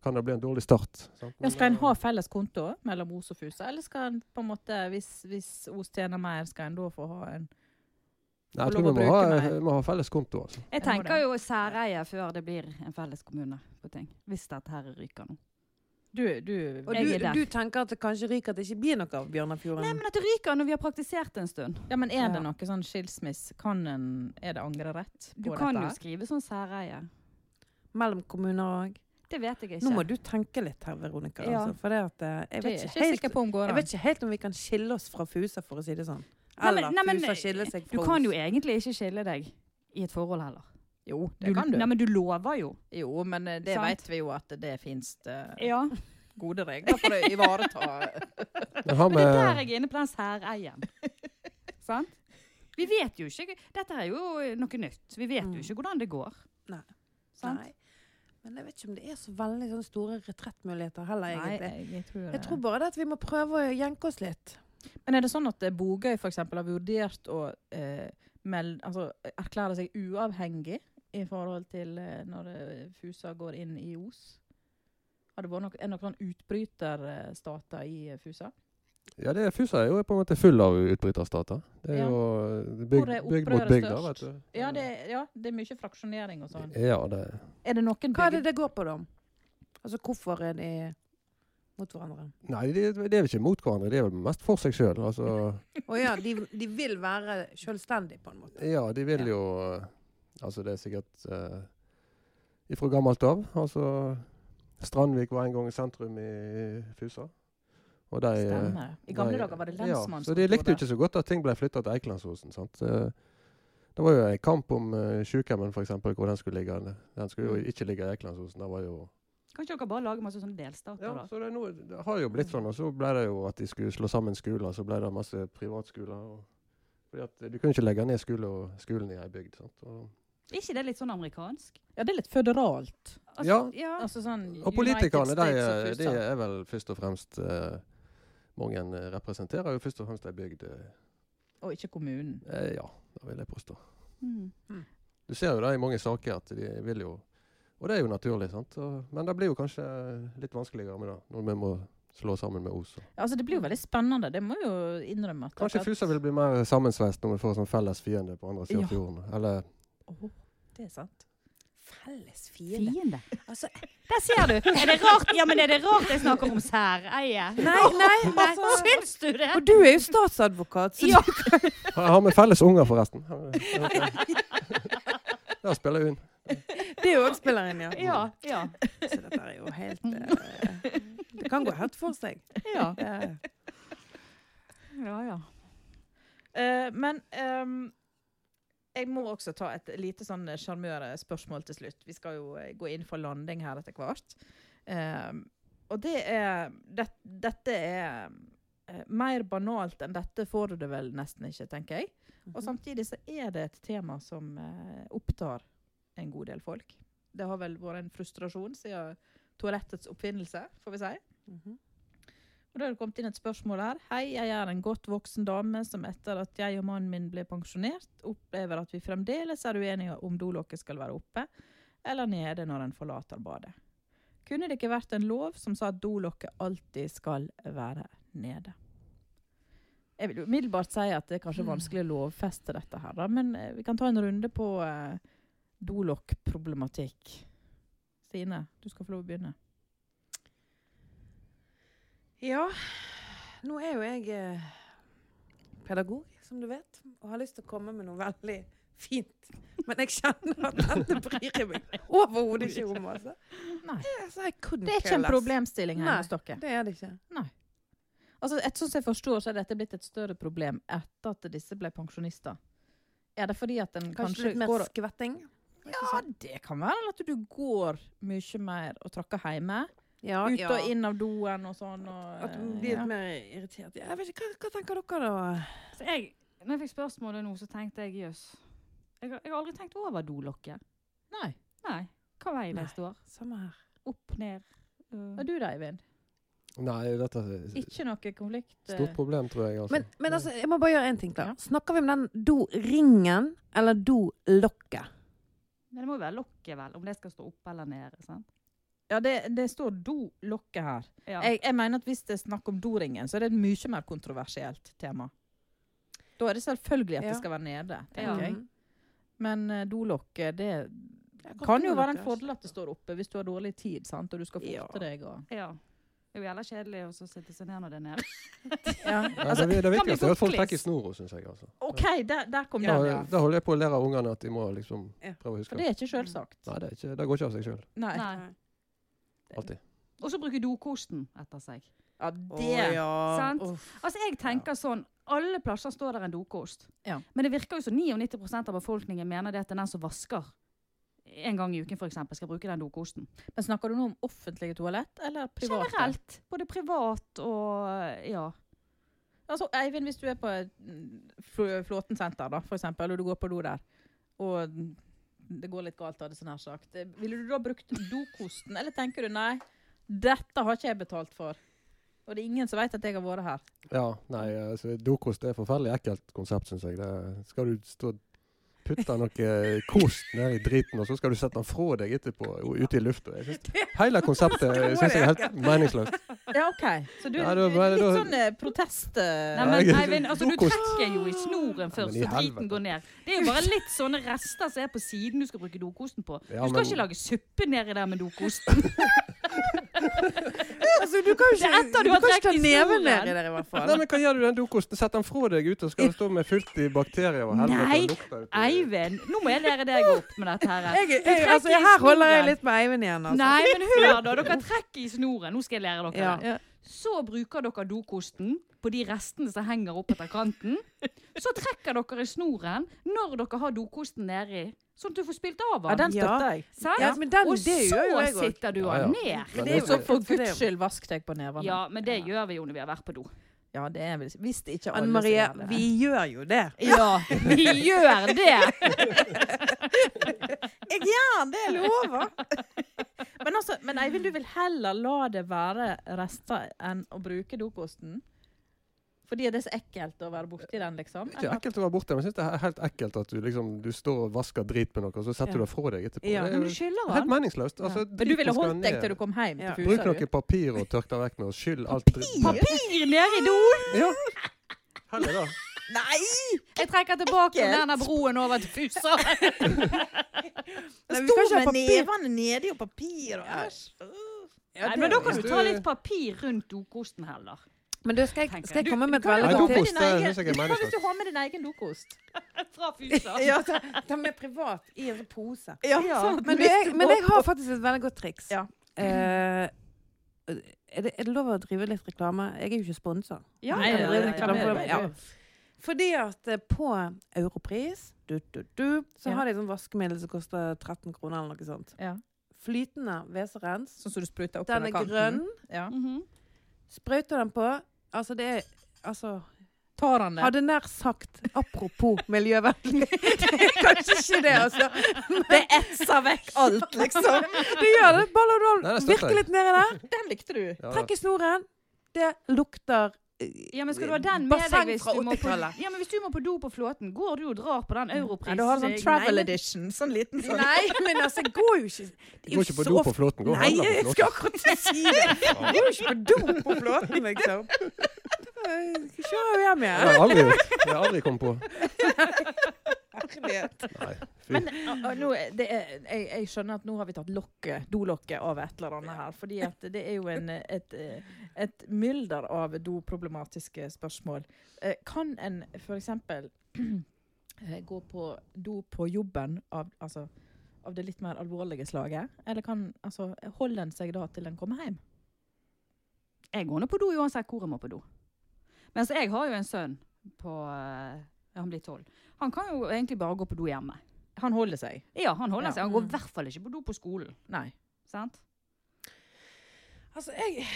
S5: kan det bli en dårlig start. sant?
S2: Ja,
S5: Men,
S2: skal en
S5: eh,
S2: ha felles konto mellom Os og Fusa, eller skal en på en måte, hvis, hvis Os tjener mer, skal en da få ha en
S5: Nei, jeg
S2: lov
S5: tror vi
S2: å
S5: må
S2: bruke
S5: ha, eh,
S2: mer?
S5: vi må ha felles konto. Altså.
S4: Jeg
S2: Jeg må
S4: tenker
S2: det.
S4: jo særeie før det blir en felles kommune på ting. Hvis dette her ryker nå.
S2: Du, du
S3: Og
S4: Jeg
S3: du,
S4: er der.
S3: du tenker at det kanskje ryker at det ikke blir noe av
S4: Nei,
S3: Bjørnafjorden?
S4: men at det ryker når vi har praktisert en stund.
S2: Ja, men er det
S3: Ja.
S2: noe sånn skilsmiss? Kan en, er det angrerett på
S4: Du kan jo
S2: dette?
S4: skrive sånn særeie.
S3: Mellom kommuner òg?
S4: Det vet jeg
S3: Nå må
S4: ikke.
S3: du tenke litt her, Veronica.
S4: Ja.
S3: Altså, for det at, eh, jeg,
S2: Det er jeg
S3: vet ikke
S2: ikke
S3: helt,
S2: sikker på om går
S3: jeg
S2: an.
S3: vet ikke helt om vi kan skille oss fra Fusa, for å si det sånn.
S4: Nei, men-
S3: Eller
S4: nei, men-
S3: Fusa skiller seg
S4: Du
S3: fra
S4: kan jo
S3: oss.
S4: egentlig ikke skille deg i et forhold heller.
S2: Jo, det kan du.
S4: Nei, men du lover jo.
S2: Jo, men eh, det
S4: Sant.
S2: vet vi jo at det finnes eh,
S4: Ja.
S2: gode regler for å ivareta
S5: Men har
S4: Men det er der
S5: vi
S4: jeg er inne på den særeien. Sant? Vi vet jo ikke Dette er jo noe nytt. Vi vet jo ikke hvordan det går.
S3: Nei.
S4: Sant?
S3: Nei. Men jeg vet ikke om det er så veldig sånne store retrettmuligheter heller, egentlig.
S2: Nei, jeg tror
S3: Jeg tror bare det at vi må prøve å jenke oss litt.
S2: Men er det sånn at eh, Bogøy for eksempel har vurdert å eh, meld, altså, erklære seg uavhengig i forhold til eh, når eh, Fusa går inn i Os? Har det vært noe, er det noen sånn utbryterstater i eh, Fusa?
S5: ja, det er, Fusa er jo på en måte full av utbryterstater. Det er
S2: Ja.
S5: jo eh,
S2: Hvor
S5: bygd
S2: er
S5: bygd mot
S2: opprøret
S5: bygd, da,
S2: størst?
S5: vet du.
S2: Ja det, ja, det er mye fraksjonering og sånn.
S5: Ja, det er
S2: Er det noen
S3: Hva er det
S2: bygd...
S3: det går på, da? Altså hvorfor er de mot hverandre?
S5: Nei, de, de er vel ikke mot hverandre, de er vel mest for seg sjøl. Altså,
S3: Å ja, de, de vil være selvstendige, på en måte.
S5: ja, de vil
S3: Ja.
S5: jo eh, Altså, det er sikkert eh, ifra gammelt av. Altså, Strandvik var en gang sentrum i Fusa. Og de eh,
S2: Stemmer. I gamle
S5: de-
S2: dager var det
S5: Ja, så de likte
S2: lensmannskontoret.
S5: jo ikke så godt at ting ble flytta til Eikelandsosen. sant? Eh, Det var jo en kamp om eh, sykehjemmen, f.eks., hvor den skulle ligge. Den skulle
S2: Mm.
S5: jo ikke ligge i Eikelandsosen. Det var jo
S4: Kan ikke dere bare lage masse sånne delstater,
S5: Ja,
S4: da?
S5: så det, er noe, det har jo blitt sånn. Og så ble det jo at de skulle slå sammen skoler. Så ble det masse privatskoler. Og, fordi at du kunne ikke legge ned skole og skolen i ei bygd. Sant? Og,
S4: Er ikke det litt sånn amerikansk?
S2: Ja, det er litt føderalt.
S4: Altså,
S5: Ja.
S4: ja.
S2: Altså sånn
S5: og politikerne,
S2: United
S5: de,
S2: States og
S5: de
S2: Fusa.
S5: er vel først og fremst eh, Mange eh, representerer jo først og fremst ei bygd. eh,
S2: Og ikke kommunen.
S5: Eh, ja, det vil jeg påstå.
S4: Mm.
S5: Du ser jo det i mange saker at de vil jo Og det er jo naturlig, sant. Og, men det blir jo kanskje litt vanskeligere med det, når vi må slå sammen med Os. og-
S2: Ja, Altså, det blir jo veldig spennende. Det må jo innrømme. At
S5: Kanskje
S2: at-
S5: Fusa vil bli mer sammensveist når vi får sånn felles fiende på andre siden
S2: Ja.
S5: av fjorden. Eller
S2: Åh, det er sant.
S3: Felles
S4: Fiende.
S3: Altså,
S4: Der ser du! Er det rart Ja, men er det rart jeg snakker om særeie?
S3: nei, nei, nei.
S4: Syns du det?
S3: Og du er jo statsadvokat, så
S4: Ja.
S5: Har har vi felles unger, forresten? Der spiller hun.
S3: det er jo òg spilleren, ja.
S4: Ja. ja.
S3: Så dette er jo helt eh, Det kan gå hardt for seg. Eh,
S4: Ja,
S3: Ja.
S4: ja. ja.
S2: Eh, men ehm, jeg må også ta et lite sånn sjarmørspørsmål til slutt. Vi skal jo eh, gå inn for landing her etter hvert. Ehm, og det er det, Dette er eh, mer banalt enn dette får du det vel nesten ikke, tenker jeg. Og
S3: Mhm.
S2: samtidig så er det et tema som eh, opptar en god del folk. Det har vel vært en frustrasjon siden toalettets oppfinnelse, får vi si.
S3: Mhm.
S2: Og da har det kommet inn et spørsmål her. Hei, jeg er en godt voksen dame som etter at jeg og mannen min ble pensjonert, opplever at vi fremdeles er uenige om dolokket skal være oppe eller nede når en forlater badet. Kunne det ikke vært en lov som sa at dolokket alltid skal være nede? Jeg vil jo umiddelbart si at det er kanskje vanskelig å lovfeste dette her, da, men eh, vi kan ta en runde på eh, dolokkproblematikk. Stine, du skal få lov å begynne.
S3: Ja, nå er jo jeg eh, pedagog, som du vet, og har lyst til å komme med noe veldig fint. Men jeg kjenner at dette bryr jeg meg overhodet ikke om. Altså.
S2: Nei.
S3: Ja, så jeg couldn't
S2: Det er ikke
S3: care
S2: en
S3: less.
S2: problemstilling her
S3: Nei.
S2: hos dere.
S3: Det er det ikke.
S2: Altså, et, sånn som jeg forstår, så er dette blitt et større problem etter at disse ble pensjonister. Er det fordi at en
S3: Kanskje,
S2: kanskje,
S3: litt mer
S2: går og
S3: skvetting?
S2: Ja, det kan være. Eller at du går mye mer og trakker hjemme.
S3: Ja,
S2: Ut
S3: ja.
S2: og inn av doen og sånn. Og,
S3: At du blir
S2: ja.
S3: litt mer irritert. Jeg vet ikke, hva, hva tenker dere da?
S4: Så jeg, når jeg fikk spørsmålet nå, så tenkte jeg jøss. Jeg, har- jeg har aldri tenkt over dolokket.
S2: Nei.
S4: Nei. Hva vei
S3: Nei.
S4: det står.
S3: Samme her.
S4: Opp, ned.
S2: Og
S4: øh.
S2: du da, Eivind?
S5: Nei, dette er et
S2: Ikke noe konflikt? eh,
S5: stort problem, tror jeg. Altså.
S3: Men, men altså, jeg må bare gjøre én ting klar.
S2: Ja.
S3: Snakker vi om den doringen eller dolokket?
S4: Men det må jo være lokket, vel. Om det skal stå opp eller nede. sant?
S2: Ja, det, det står do-lokket her.
S4: Ja.
S2: Jeg, jeg mener at hvis det er snakk om doringen, så er det et mye mer kontroversielt tema. Da er det selvfølgelig at
S3: Ja.
S2: det skal være nede,
S4: Ja.
S3: Mm.
S2: tenker jeg. Men eh, dolokket, det
S3: Jeg
S2: kan jo
S3: til
S2: være en
S3: dere,
S2: fordel at det står oppe hvis du har dårlig tid, sant? og du skal
S3: Ja.
S2: forte deg og
S4: ja. Det er jo jævla kjedelig å så sitte seg ned når det er nede.
S2: ja.
S5: Nei,
S4: kan
S5: det, det
S4: bli
S5: viktigste er at folk
S4: fort lest.
S5: trekker i snora, syns jeg. Altså.
S2: OK, der, der kom
S5: Da,
S2: den, ja.
S5: da holder jeg på å lære ungene at de må liksom
S3: Ja.
S5: prøve å huske.
S2: For det er ikke sjølsagt.
S5: Nei, det, er ikke, det går ikke av seg sjøl.
S2: Nei.
S4: Nei.
S5: Alltid.
S4: Og så bruke dokosten etter seg.
S2: Ja,
S3: altså.
S2: det
S3: Å, ja.
S4: Sant?
S3: Uff.
S4: Altså, jeg tenker sånn, Alle plasser står der en dokost.
S2: Ja.
S4: Men det virker jo som 99 av befolkningen mener det at den som vasker en gang i uken, for eksempel, skal bruke den dokosten.
S2: Men snakker du nå om offentlige toalett eller private?
S4: Generelt. Både privat og ja.
S2: Altså, Eivind, hvis du er på et, mm, Flå- Flåten senter, da, for eksempel, og du går på do der, og mm, det går litt galt, hadde jeg så nær sagt, eh, ville du da brukt dokosten, eller tenker du nei, dette har ikke jeg betalt for, og det er ingen som vet at jeg har vært her.
S5: Ja, nei, altså, Dokos det er et forferdelig ekkelt konsept, syns jeg. Det, skal du stå putte noe eh, kost ned i driten, og så skal du sette den fra deg etterpå og ute i lufta. Jeg synes, hele konseptet syns jeg er helt meningsløst.
S2: Ja, OK. Så du,
S5: Ja,
S2: du
S5: da-
S2: er litt
S5: da-
S2: sånn eh, protest... eh,
S4: Nei, men
S5: jeg-
S4: Eivind, altså, du
S5: dokost.
S4: trekker jo i snoren først,
S5: men i
S4: så driten
S5: helvete.
S4: går ned. Det er jo bare litt sånne rester som er på siden du skal bruke dokosten på. Du
S5: Ja,
S4: skal
S5: men-
S4: ikke lage suppe nedi der med dokosten.
S3: Altså, du kan jo
S4: Det er etter
S3: ikke,
S4: du
S3: du
S4: har
S3: kan ikke ta
S4: trekt
S3: neven
S4: historien.
S3: ned i der, i hvert fall.
S5: Nei, men Hva gjør du den dokosten? Sett den fra deg ute, og skal du stå med fullt i bakterier og helvete
S4: Nei,
S5: og lukte ute.
S4: Eivind, nå må jeg lære deg opp med dette her.
S3: Jeg,
S4: Du
S3: jeg,
S4: trekker
S3: altså,
S4: i
S3: her holder jeg
S4: snoren.
S3: litt med Eivind igjen, altså.
S4: Nei, men hør da, dere trekker i snoren. Nå skal jeg lære dere
S3: Ja.
S4: det. Så bruker dere dokosten på de restene som henger opp etter kanten. Så trekker dere i snoren når dere har dokosten nedi, sånn at du får spilt av
S2: Ja,
S4: den.
S2: den støtter jeg.
S4: Sant?
S3: Ja, men den,
S4: og
S3: det
S4: så
S3: gjør jo jeg òg.
S4: sitter du
S5: Ja, ja.
S4: den ned.
S5: Men
S3: det er jo-
S5: også-
S2: Så for
S3: for det-
S2: guds skyld, vask deg på nevene.
S4: Ja, men det gjør vi jo når vi har vært på do.
S2: Ja, det er vel Hvis det ikke
S3: Anne
S2: alle som
S3: Marie,
S2: gjør det.
S3: vi gjør jo det.
S4: Ja, vi gjør det!
S2: Jeg gjør det, jeg lover! men, altså, men Eivind, du vil heller la det være rester enn å bruke dokosten? Fordi det er så ekkelt å være borti den, liksom?
S5: Det er ikke ekkelt å være borte, men jeg synes det er helt ekkelt at du liksom du står og vasker drit med noe, og så setter
S3: Ja.
S5: du det fra deg
S3: Ja,
S5: etterpå. Det er
S4: Men du
S5: jo
S4: skylder
S5: helt
S4: han.
S5: meningsløst. Altså,
S2: Men du
S5: driten
S2: ville
S5: skal
S2: holdt deg
S5: ned.
S2: til du kom hjem
S3: Ja.
S2: til
S5: Bruk
S2: Fusa?
S5: noe
S2: du?
S5: papir og tørk det vekk med, og skyll alt dritt.
S4: Papir nede i doen!
S5: Ja. Heller det.
S2: Nei!
S4: Jeg trekker tilbake
S2: Ekkelt.
S4: denne broen over til Fusa.
S3: Nei, vi
S2: Sto
S3: skal ikke ha
S2: med
S3: papir.
S2: nevene nedi og papir og
S3: Ja.
S2: æsj. Øh.
S3: Ja,
S4: Nei,
S3: det-
S4: men da kan
S5: Hvis
S4: du
S5: du-
S4: ta litt papir rundt dokosten heller.
S3: Men du, skal jeg,
S4: Tenker
S3: skal jeg
S4: jeg.
S3: komme med et
S2: Hva
S3: veldig
S5: Nei,
S3: godt
S5: dokost,
S2: hvis du har med
S5: det
S2: din
S5: synes jeg er
S2: egen- hva hvis du
S5: meningsløst.
S2: har med din egen dokost?
S4: Fra Fusa.
S3: Ja, ta, ta med privat i en sånn pose.
S2: Ja,
S4: sånn
S3: Men, du, jeg, men jeg har faktisk et veldig godt triks.
S2: Ja.
S3: Eh, er, det, er det lov å drive litt reklame? Jeg er jo ikke sponsa.
S4: Ja,
S2: Nei,
S4: ja,
S2: nei,
S4: ja,
S2: nei,
S4: ja,
S2: reklamerer
S4: ja.
S2: meg,
S3: Ja.
S2: du.
S3: Fordi at eh, på Europris du, du, du, så
S2: Ja.
S3: har de sånn vaskemiddel som koster 13 kroner eller noe sånt.
S2: Ja.
S3: Flytende WC-rens.
S2: Sånn som du spruter opp
S3: Den
S2: under
S3: er
S2: kanten.
S3: grønn.
S2: Ja.
S4: Mhm.
S3: Sprøyter den på. Altså, det er Altså
S2: Tar han det?
S3: Hadde nær sagt apropos miljøvennlig. Det er Kanskje ikke det, altså.
S2: Det etser vekk alt, liksom.
S3: Det gjør det. Bare la
S5: Nei,
S3: det
S5: det støtter
S3: virke
S5: jeg.
S3: litt nedi der.
S2: Den likte du.
S5: Ja,
S3: Trekk i snoren. Det lukter eh,
S4: Ja, men skal du ha den med
S3: Basseng
S4: deg hvis
S3: fra
S4: du, må på,
S3: 80-tallet.
S4: ja, men hvis du må på do på flåten? Går du og drar på den Europris?
S2: Ja, du har sånn
S4: eh,
S2: travel
S4: greien?
S2: edition. Sånn liten sånn.
S3: Nei, men altså, jeg går jo ikke
S5: Du går ikke på do på flåten. Gå og
S3: Nei,
S5: handle
S3: jeg
S5: på
S3: skal
S5: flåten.
S3: akkurat til å si det. Jeg går jo ikke på do på flåten, liksom. Eh, Kjører jo hjem
S5: Det har
S3: igjen.
S5: jeg aldri gjort. Det har jeg aldri kommet på.
S3: Herlighet.
S5: Nei.
S2: Men å, å, nå, er- det er, jeg, jeg skjønner at nå har vi tatt lokket, dolokket av et eller annet her. Fordi at det er jo en, eh, et, eh, et mylder av doproblematiske spørsmål. Eh, Kan en f.eks. gå på do på jobben av, altså, av det litt mer alvorlige slaget? Eller kan, altså, holder en seg da til en kommer hjem?
S4: Jeg går nå på do uansett hvor jeg må på do. Men altså, jeg har jo en sønn på eh, Han blir tolv. Han kan jo egentlig bare gå på do hjemme.
S2: Han holder seg.
S4: Ja, han holder
S2: Ja.
S4: seg. Han går i hvert fall ikke på do på skolen.
S2: Nei.
S4: Sant?
S3: Altså, jeg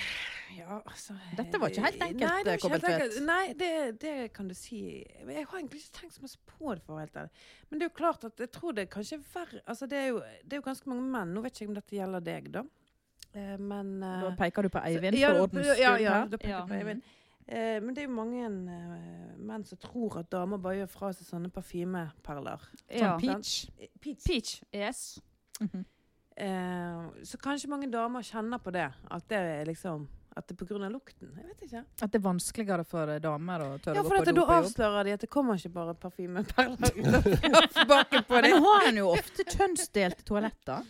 S3: Ja, altså
S2: Dette var ikke helt enkelt,
S3: Nei, det var ikke helt
S2: Kobbeltvedt.
S3: enkelt. Nei, det, det kan du si. Men Jeg har egentlig ikke tenkt så mye på det, for å være helt ærlig. Men det er jo klart at jeg tror det er kanskje verre Altså, det er jo, det er jo ganske mange menn. Nå vet ikke jeg om dette gjelder deg, da. Eh, Men eh,
S2: Da peker du på Eivind
S3: ja,
S2: for
S3: da-
S2: ordens
S3: ja,
S2: skyld
S3: ja,
S2: her.
S3: da peker jeg på
S2: Ja.
S3: Eivind. Eh, Men det er jo mange eh, menn som tror at damer bare gjør fra seg sånne parfymeperler.
S4: Ja.
S2: Sånn peach.
S3: Peach.
S4: Peach. Yes.
S3: Eh, så kanskje mange damer kjenner på det. At det er liksom At det er pga. lukten. Jeg vet ikke.
S2: At det er vanskeligere for eh, damer å tørre
S3: Ja,
S2: å
S3: for
S2: gå
S3: dette,
S2: på
S3: da
S2: do på jobb.
S3: avslører de at det kommer ikke bare parfymeperler ut av baken på
S2: Men
S3: dem.
S2: nå har en jo ofte kjønnsdelte toaletter.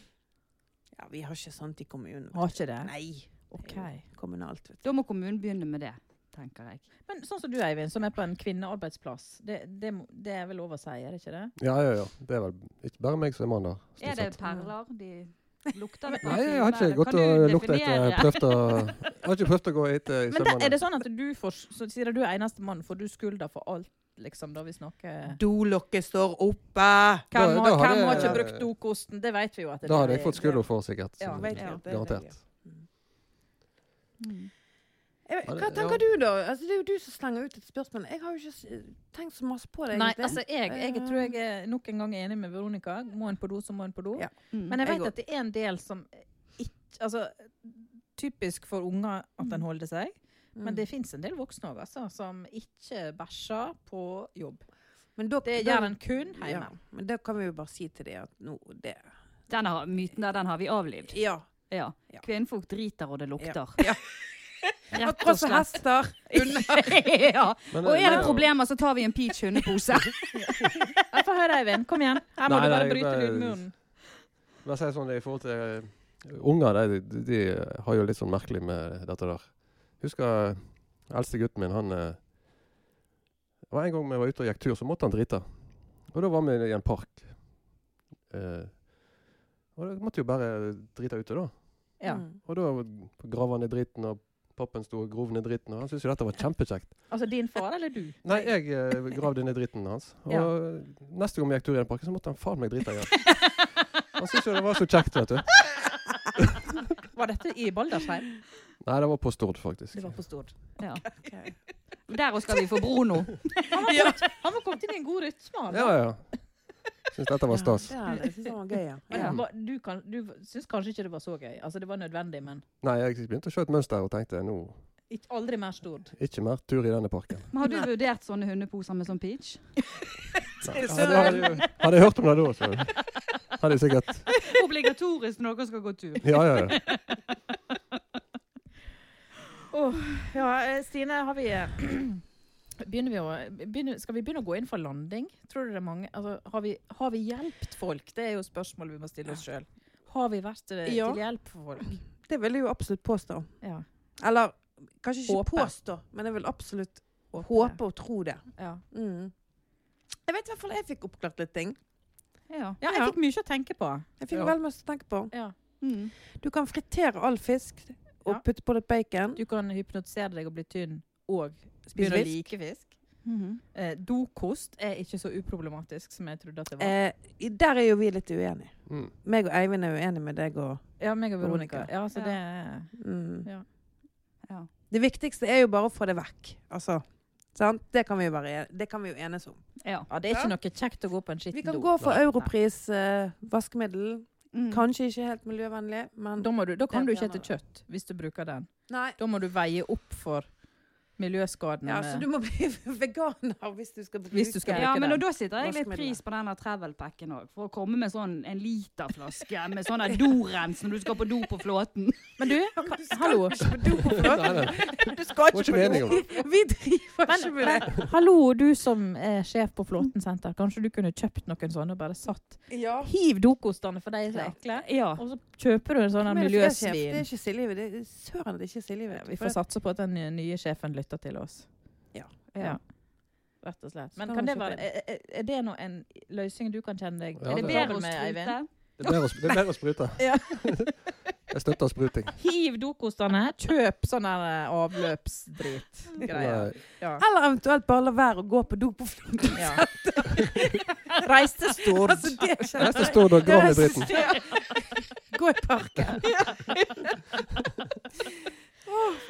S3: Ja, vi har ikke sånt i kommunen.
S2: Har ikke det?
S3: Nei.
S2: Ok.
S3: Kommunalt, vet du.
S4: Da må kommunen begynne med det, tenker jeg.
S2: Men sånn som du, Eivind, som er på en kvinnearbeidsplass. Det, det, må- det er vel lov å si, er det ikke det?
S5: Ja, ja, ja. Det er vel ikke bare meg som er mann der.
S4: Er
S5: stort
S4: det
S5: sett.
S4: perler de lukter med
S5: Nei, jeg har ikke gått og lukta etter prøvd å Jeg har ikke prøvd å gå etter i
S2: Men det, er
S5: sømmene.
S2: det sånn at du får så Siden du er eneste mann, får du skylda for alt, liksom, da vi snakker
S3: Dolokket står oppe!
S5: Da-
S2: Hvem, har,
S5: da har
S2: hvem
S5: det-
S2: har ikke brukt dokosten? Det vet vi jo at det
S5: Da hadde
S2: er-
S5: jeg fått skylda for, sikkert.
S2: Ja,
S5: Så-
S3: Vet du
S4: Ja.
S3: at det er
S5: Garantert.
S3: det?
S4: Mm.
S3: Jeg,
S5: Ja, det-
S3: hva tenker du, da? Altså, det er jo du som slenger ut et spørsmål. Jeg har jo ikke s- tenkt så masse på det.
S2: Nei,
S3: egentlig.
S2: altså jeg, jeg tror jeg er nok en gang enig med Veronica. Må en på do, så må en på do.
S3: Ja.
S4: Mm.
S2: Men jeg
S3: Jeg
S2: vet
S3: går.
S2: at det er en del som ikke Altså, typisk for unger at en holder seg.
S3: Mm.
S2: Men det fins en del voksne òg, altså, som ikke bæsjer på jobb.
S3: Men da,
S2: Det
S3: da-
S2: gjør en kun hjemme.
S3: Ja, men da kan vi jo bare si til dem at nå det
S4: Den har, myten der, den har vi avlivd.
S3: Ja.
S4: Ja.
S3: Ja.
S4: Kvinnfolk driter, og det lukter.
S3: Ja.
S4: Rett og
S3: Akkurat som
S4: slett.
S3: hester.
S4: ja.
S5: Men, eh,
S4: Og er det
S5: men-
S4: problemer, så tar vi en peach hundepose.
S2: Ja, Få høre, Eivind. Kom igjen. Her må
S5: Nei,
S2: du bare
S5: nei,
S2: bryte
S5: bare-
S2: lydmuren.
S5: La oss si det sånn, i forhold til eh, Unger de, de, de har jo litt sånn merkelig med dette der. Husker eh, eldste gutten min, han eh, det var En gang vi var ute og gikk tur, så måtte han drite. Og da var vi i en park. Eh, og da måtte jo bare drite ute, da.
S2: Ja.
S3: Mm.
S5: Og da grav han i driten, og pappen sto og grov ned driten. Og han syntes jo dette var kjempekjekt.
S2: Altså din far eller du?
S5: Nei, jeg eh, grav den i driten hans. Og
S2: Ja.
S5: neste gang vi gikk tur i den parken, så måtte han faen meg drite igjen. Han syntes jo det var så kjekt, vet du.
S2: Var dette i Baldersheim?
S5: Nei, det var på Stord, faktisk.
S2: Det var på Stord.
S4: Ja.
S3: Ok.
S4: Der også skal vi få Bruno.
S2: Han var kommet inn i en god rytme. altså. han.
S5: Ja, ja. Syns dette var stas.
S3: Ja, det syns jeg var gøy, ja.
S2: Men
S4: Ja.
S2: hva- Du, kan, du syns kanskje ikke det var så gøy. Altså, det var nødvendig, men
S5: Nei, jeg begynte å se et mønster og tenkte nå,
S2: ikke, aldri mer Stord.
S5: ikke mer tur i denne parken.
S4: Men har du vurdert sånne hundeposer med sånn peach?
S5: Nei, Hadde, hadde, jo- hadde jeg hørt om det da, så hadde jeg sikkert
S4: Obligatorisk når dere skal gå tur.
S5: Ja, ja, ja.
S2: Ja, eh, Stine, har vi Begynner vi å, begynner, skal vi begynne å gå inn for landing? Tror du det er mange altså, har, vi, har vi hjulpet folk? Det er jo spørsmålet vi må stille oss sjøl. Har vi vært eh,
S3: Ja.
S2: til hjelp for folk?
S3: Det vil jeg jo absolutt påstå.
S2: Ja.
S3: Eller kanskje ikke
S2: Håpe.
S3: påstå, men jeg vil absolutt
S2: Håpe det.
S3: håpe og tro det.
S2: Ja.
S3: Mm. Jeg vet i hvert fall jeg fikk oppklart litt ting.
S4: Ja.
S2: ja, jeg
S3: Ja.
S2: fikk mye å tenke på.
S3: Jeg fikk
S5: Ja.
S3: vel mye å tenke på.
S2: Ja.
S4: Mm.
S3: Du kan fritere all fisk og
S2: Ja.
S3: putte på litt bacon.
S2: Du kan hypnotisere deg og bli tynn, og
S3: Spise
S2: begynne å
S3: fisk.
S2: like fisk.
S4: Mhm.
S2: Eh, dokost er ikke så uproblematisk som jeg trodde at det var.
S3: Eh, i- der er jo vi litt uenige.
S5: Mm.
S3: Meg og Eivind er uenige med deg og
S2: ja, meg og Veronica.
S3: Veronica.
S2: Ja, så
S4: Ja.
S2: det er
S3: mm.
S2: Ja.
S4: Ja.
S3: Det viktigste er jo bare å få det vekk. Altså, sant? Det kan vi jo, bare, e-, det kan vi jo enes om.
S4: Ja.
S2: Ja, det er ikke noe kjekt å gå på en
S3: Vi
S2: skitten
S3: kan
S2: do.
S3: gå for
S5: Nei.
S3: europris eh, vaskemiddel.
S4: Mm.
S3: Kanskje ikke helt miljøvennlig, men
S2: Da, må du, da kan du
S3: Det
S2: ikke
S3: blir
S2: ete kjøtt hvis du bruker den.
S3: Nei.
S2: Da må du veie opp for miljøskadene.
S3: Ja, så du må bli veganer hvis du skal bruke
S2: eh, Hvis du skal
S4: Ja,
S2: bruke
S4: men
S2: den.
S4: og da sitter jeg litt
S3: Vaskemiddelet.
S4: pris på denne travelpacken òg. For å komme med sånn en literflaske med sånn her dorens når du skal på do på Flåten.
S2: Men du, ka- hallo.
S5: Nei, nei.
S3: Du skal
S5: Det var ikke meningen.
S3: på do. Vi driver
S2: Men,
S3: ikke med det.
S2: men hallo, du som er sjef på Flåten senter. Kanskje du kunne kjøpt noen sånne og bare satt
S3: Ja.
S2: Hiv dokostene for de som er ekle,
S4: Ja.
S2: og så kjøper du en sånn
S3: Men det er sjef, Det er
S2: miljøsvin.
S3: ikke Silje. Det er søren det er ikke Silje. vet du.
S2: Vi får satse på at den nye sjefen lytter til oss.
S3: Ja.
S2: ja. Rett og slett. Men
S3: Skal
S2: kan
S3: man
S2: det
S3: kjøpe
S2: være, er, er- er det nå en løsning du kan kjenne deg Er
S5: Ja,
S4: Er
S2: det
S5: det-
S2: bedre
S4: å
S2: med, Eivind?
S4: strupe?
S5: Det er bedre å, sp- det er bedre å sprute.
S2: Ja.
S5: Jeg støtter spruting.
S2: Hiv dokostene. Kjøp sånn her eh, avløpsdritgreier.
S5: Nei.
S2: Ja.
S3: Eller eventuelt bare la være å gå på do på fl-
S2: Ja. Reis til Stord.
S3: Altså, det skjer.
S5: Neste står da grav i dritten.
S3: Gå i parken.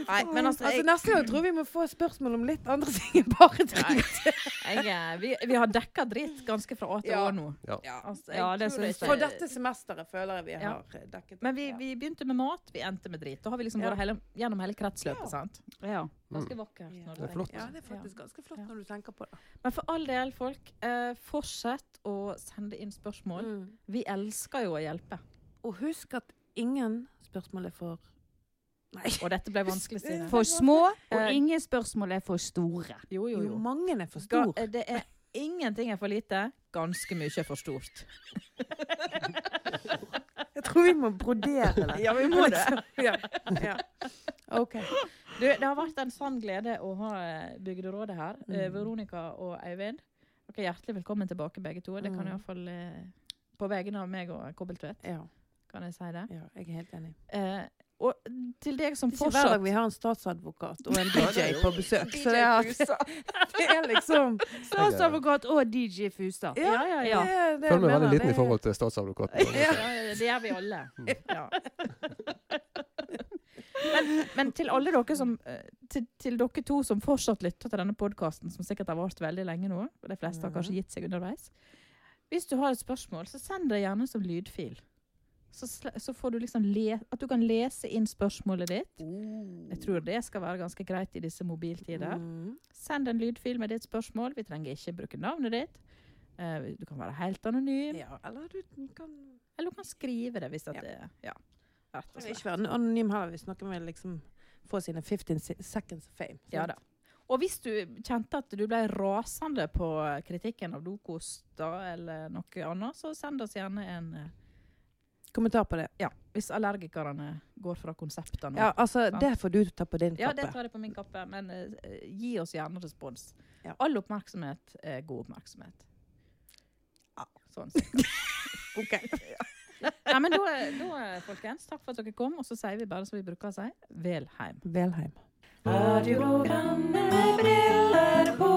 S2: Nei, men altså,
S3: altså,
S2: jeg,
S3: neste gang tror jeg vi må få spørsmål om litt andre ting enn bare
S2: Nei.
S3: dritt.
S2: jeg, eh, vi, vi har dekka dritt ganske fra A til Å
S3: Ja.
S2: nå.
S5: Ja.
S2: Altså,
S4: Ja, det
S2: tror
S4: synes
S2: ikke-
S3: For dette semesteret føler jeg vi
S2: Ja.
S3: har dekket.
S2: Men vi, vi begynte med mat, vi endte med drit. Da har vi liksom
S3: Ja. Mm.
S2: vært hele, gjennom hele kretsløpet. sant?
S4: Ja.
S5: Mm.
S2: Ganske vakkert. når du
S5: Det er flott.
S2: tenker.
S3: Ja, det er faktisk ganske flott
S2: Ja.
S3: når du tenker på det.
S2: Men for all del, folk, eh, fortsett å sende inn
S3: Mm.
S2: spørsmål. Vi elsker jo å hjelpe.
S3: Og husk at ingen spørsmål er for Nei.
S2: Og dette ble vanskelig, Stine.
S4: For små, og
S2: Eh,
S4: ingen spørsmål er for store.
S2: Jo, jo,
S3: Jo,
S2: jo.
S3: mange er for
S2: Ga,
S3: stor.
S2: eh, det er ingenting er for lite. Ganske mye er for stort.
S3: Jeg tror vi må brodere det.
S2: Ja, vi
S3: Liksom, Ja. ja. OK.
S2: Du, det har vært en sann glede å ha eh, Bygderådet her. Eh,
S3: Mm.
S2: Veronica og Eivind. Dere er hjertelig velkommen tilbake, begge to. Det kan
S3: Mm.
S2: iallfall eh, På vegne av meg og Kobbeltvedt,
S3: Ja,
S2: kan jeg si det.
S3: ja, jeg er helt enig.
S2: Eh, og til deg som
S3: Det er ikke hver
S2: fortsatt
S3: dag vi har en statsadvokat og en DJ på besøk. Så det
S4: DJ
S3: er, det er liksom
S4: Statsadvokat og DJ Fusa.
S3: Ja,
S2: ja,
S3: det er det jeg
S5: Føler meg
S3: mener,
S5: veldig
S3: det
S5: liten i
S3: er-
S5: forhold til statsadvokaten.
S2: Ja, det gjør vi alle. Ja. Men, men til alle dere som eh, til, til dere to som fortsatt lytter til denne podkasten, som sikkert har vart veldig lenge nå, og de fleste har kanskje gitt seg underveis Hvis du har et spørsmål, så send det gjerne som lydfil. Så, sl- så får du liksom le, at du kan lese inn spørsmålet ditt. Jeg tror det skal være ganske greit i disse mobiltider.
S3: Mm.
S2: Send en lydfil med ditt spørsmål. Vi trenger ikke bruke navnet ditt. Eh, Du kan være helt anonym.
S3: Ja, eller du kan
S2: Eller du kan skrive det hvis at
S3: Ja.
S2: det ja. Rett og
S3: Kan
S2: slett.
S3: ikke være anonym heller. Vi snakker med liksom få sine 15 se- seconds of fame.
S2: Ja da. Og hvis du kjente at du ble rasende på kritikken av Dokos da, eller noe annet, så send oss gjerne en eh,
S3: Kommentar på det.
S2: Ja, hvis allergikerne går fra konseptene.
S3: Ja, altså,
S2: Sant.
S3: det får du ta på din
S2: Sånn. Ja, det
S3: kappe.
S2: tar jeg på min kappe, men eh, gi oss gjerne respons.
S3: Ja.
S2: All oppmerksomhet er god oppmerksomhet.
S3: Ja.
S2: Sånn sett.
S3: Ok.
S2: Nei, men da, eh, da, folkens, takk for at dere kom, og så sier vi bare som vi bruker å si, vel heim.
S3: Velheim.
S1: Radioprogrammet med briller på.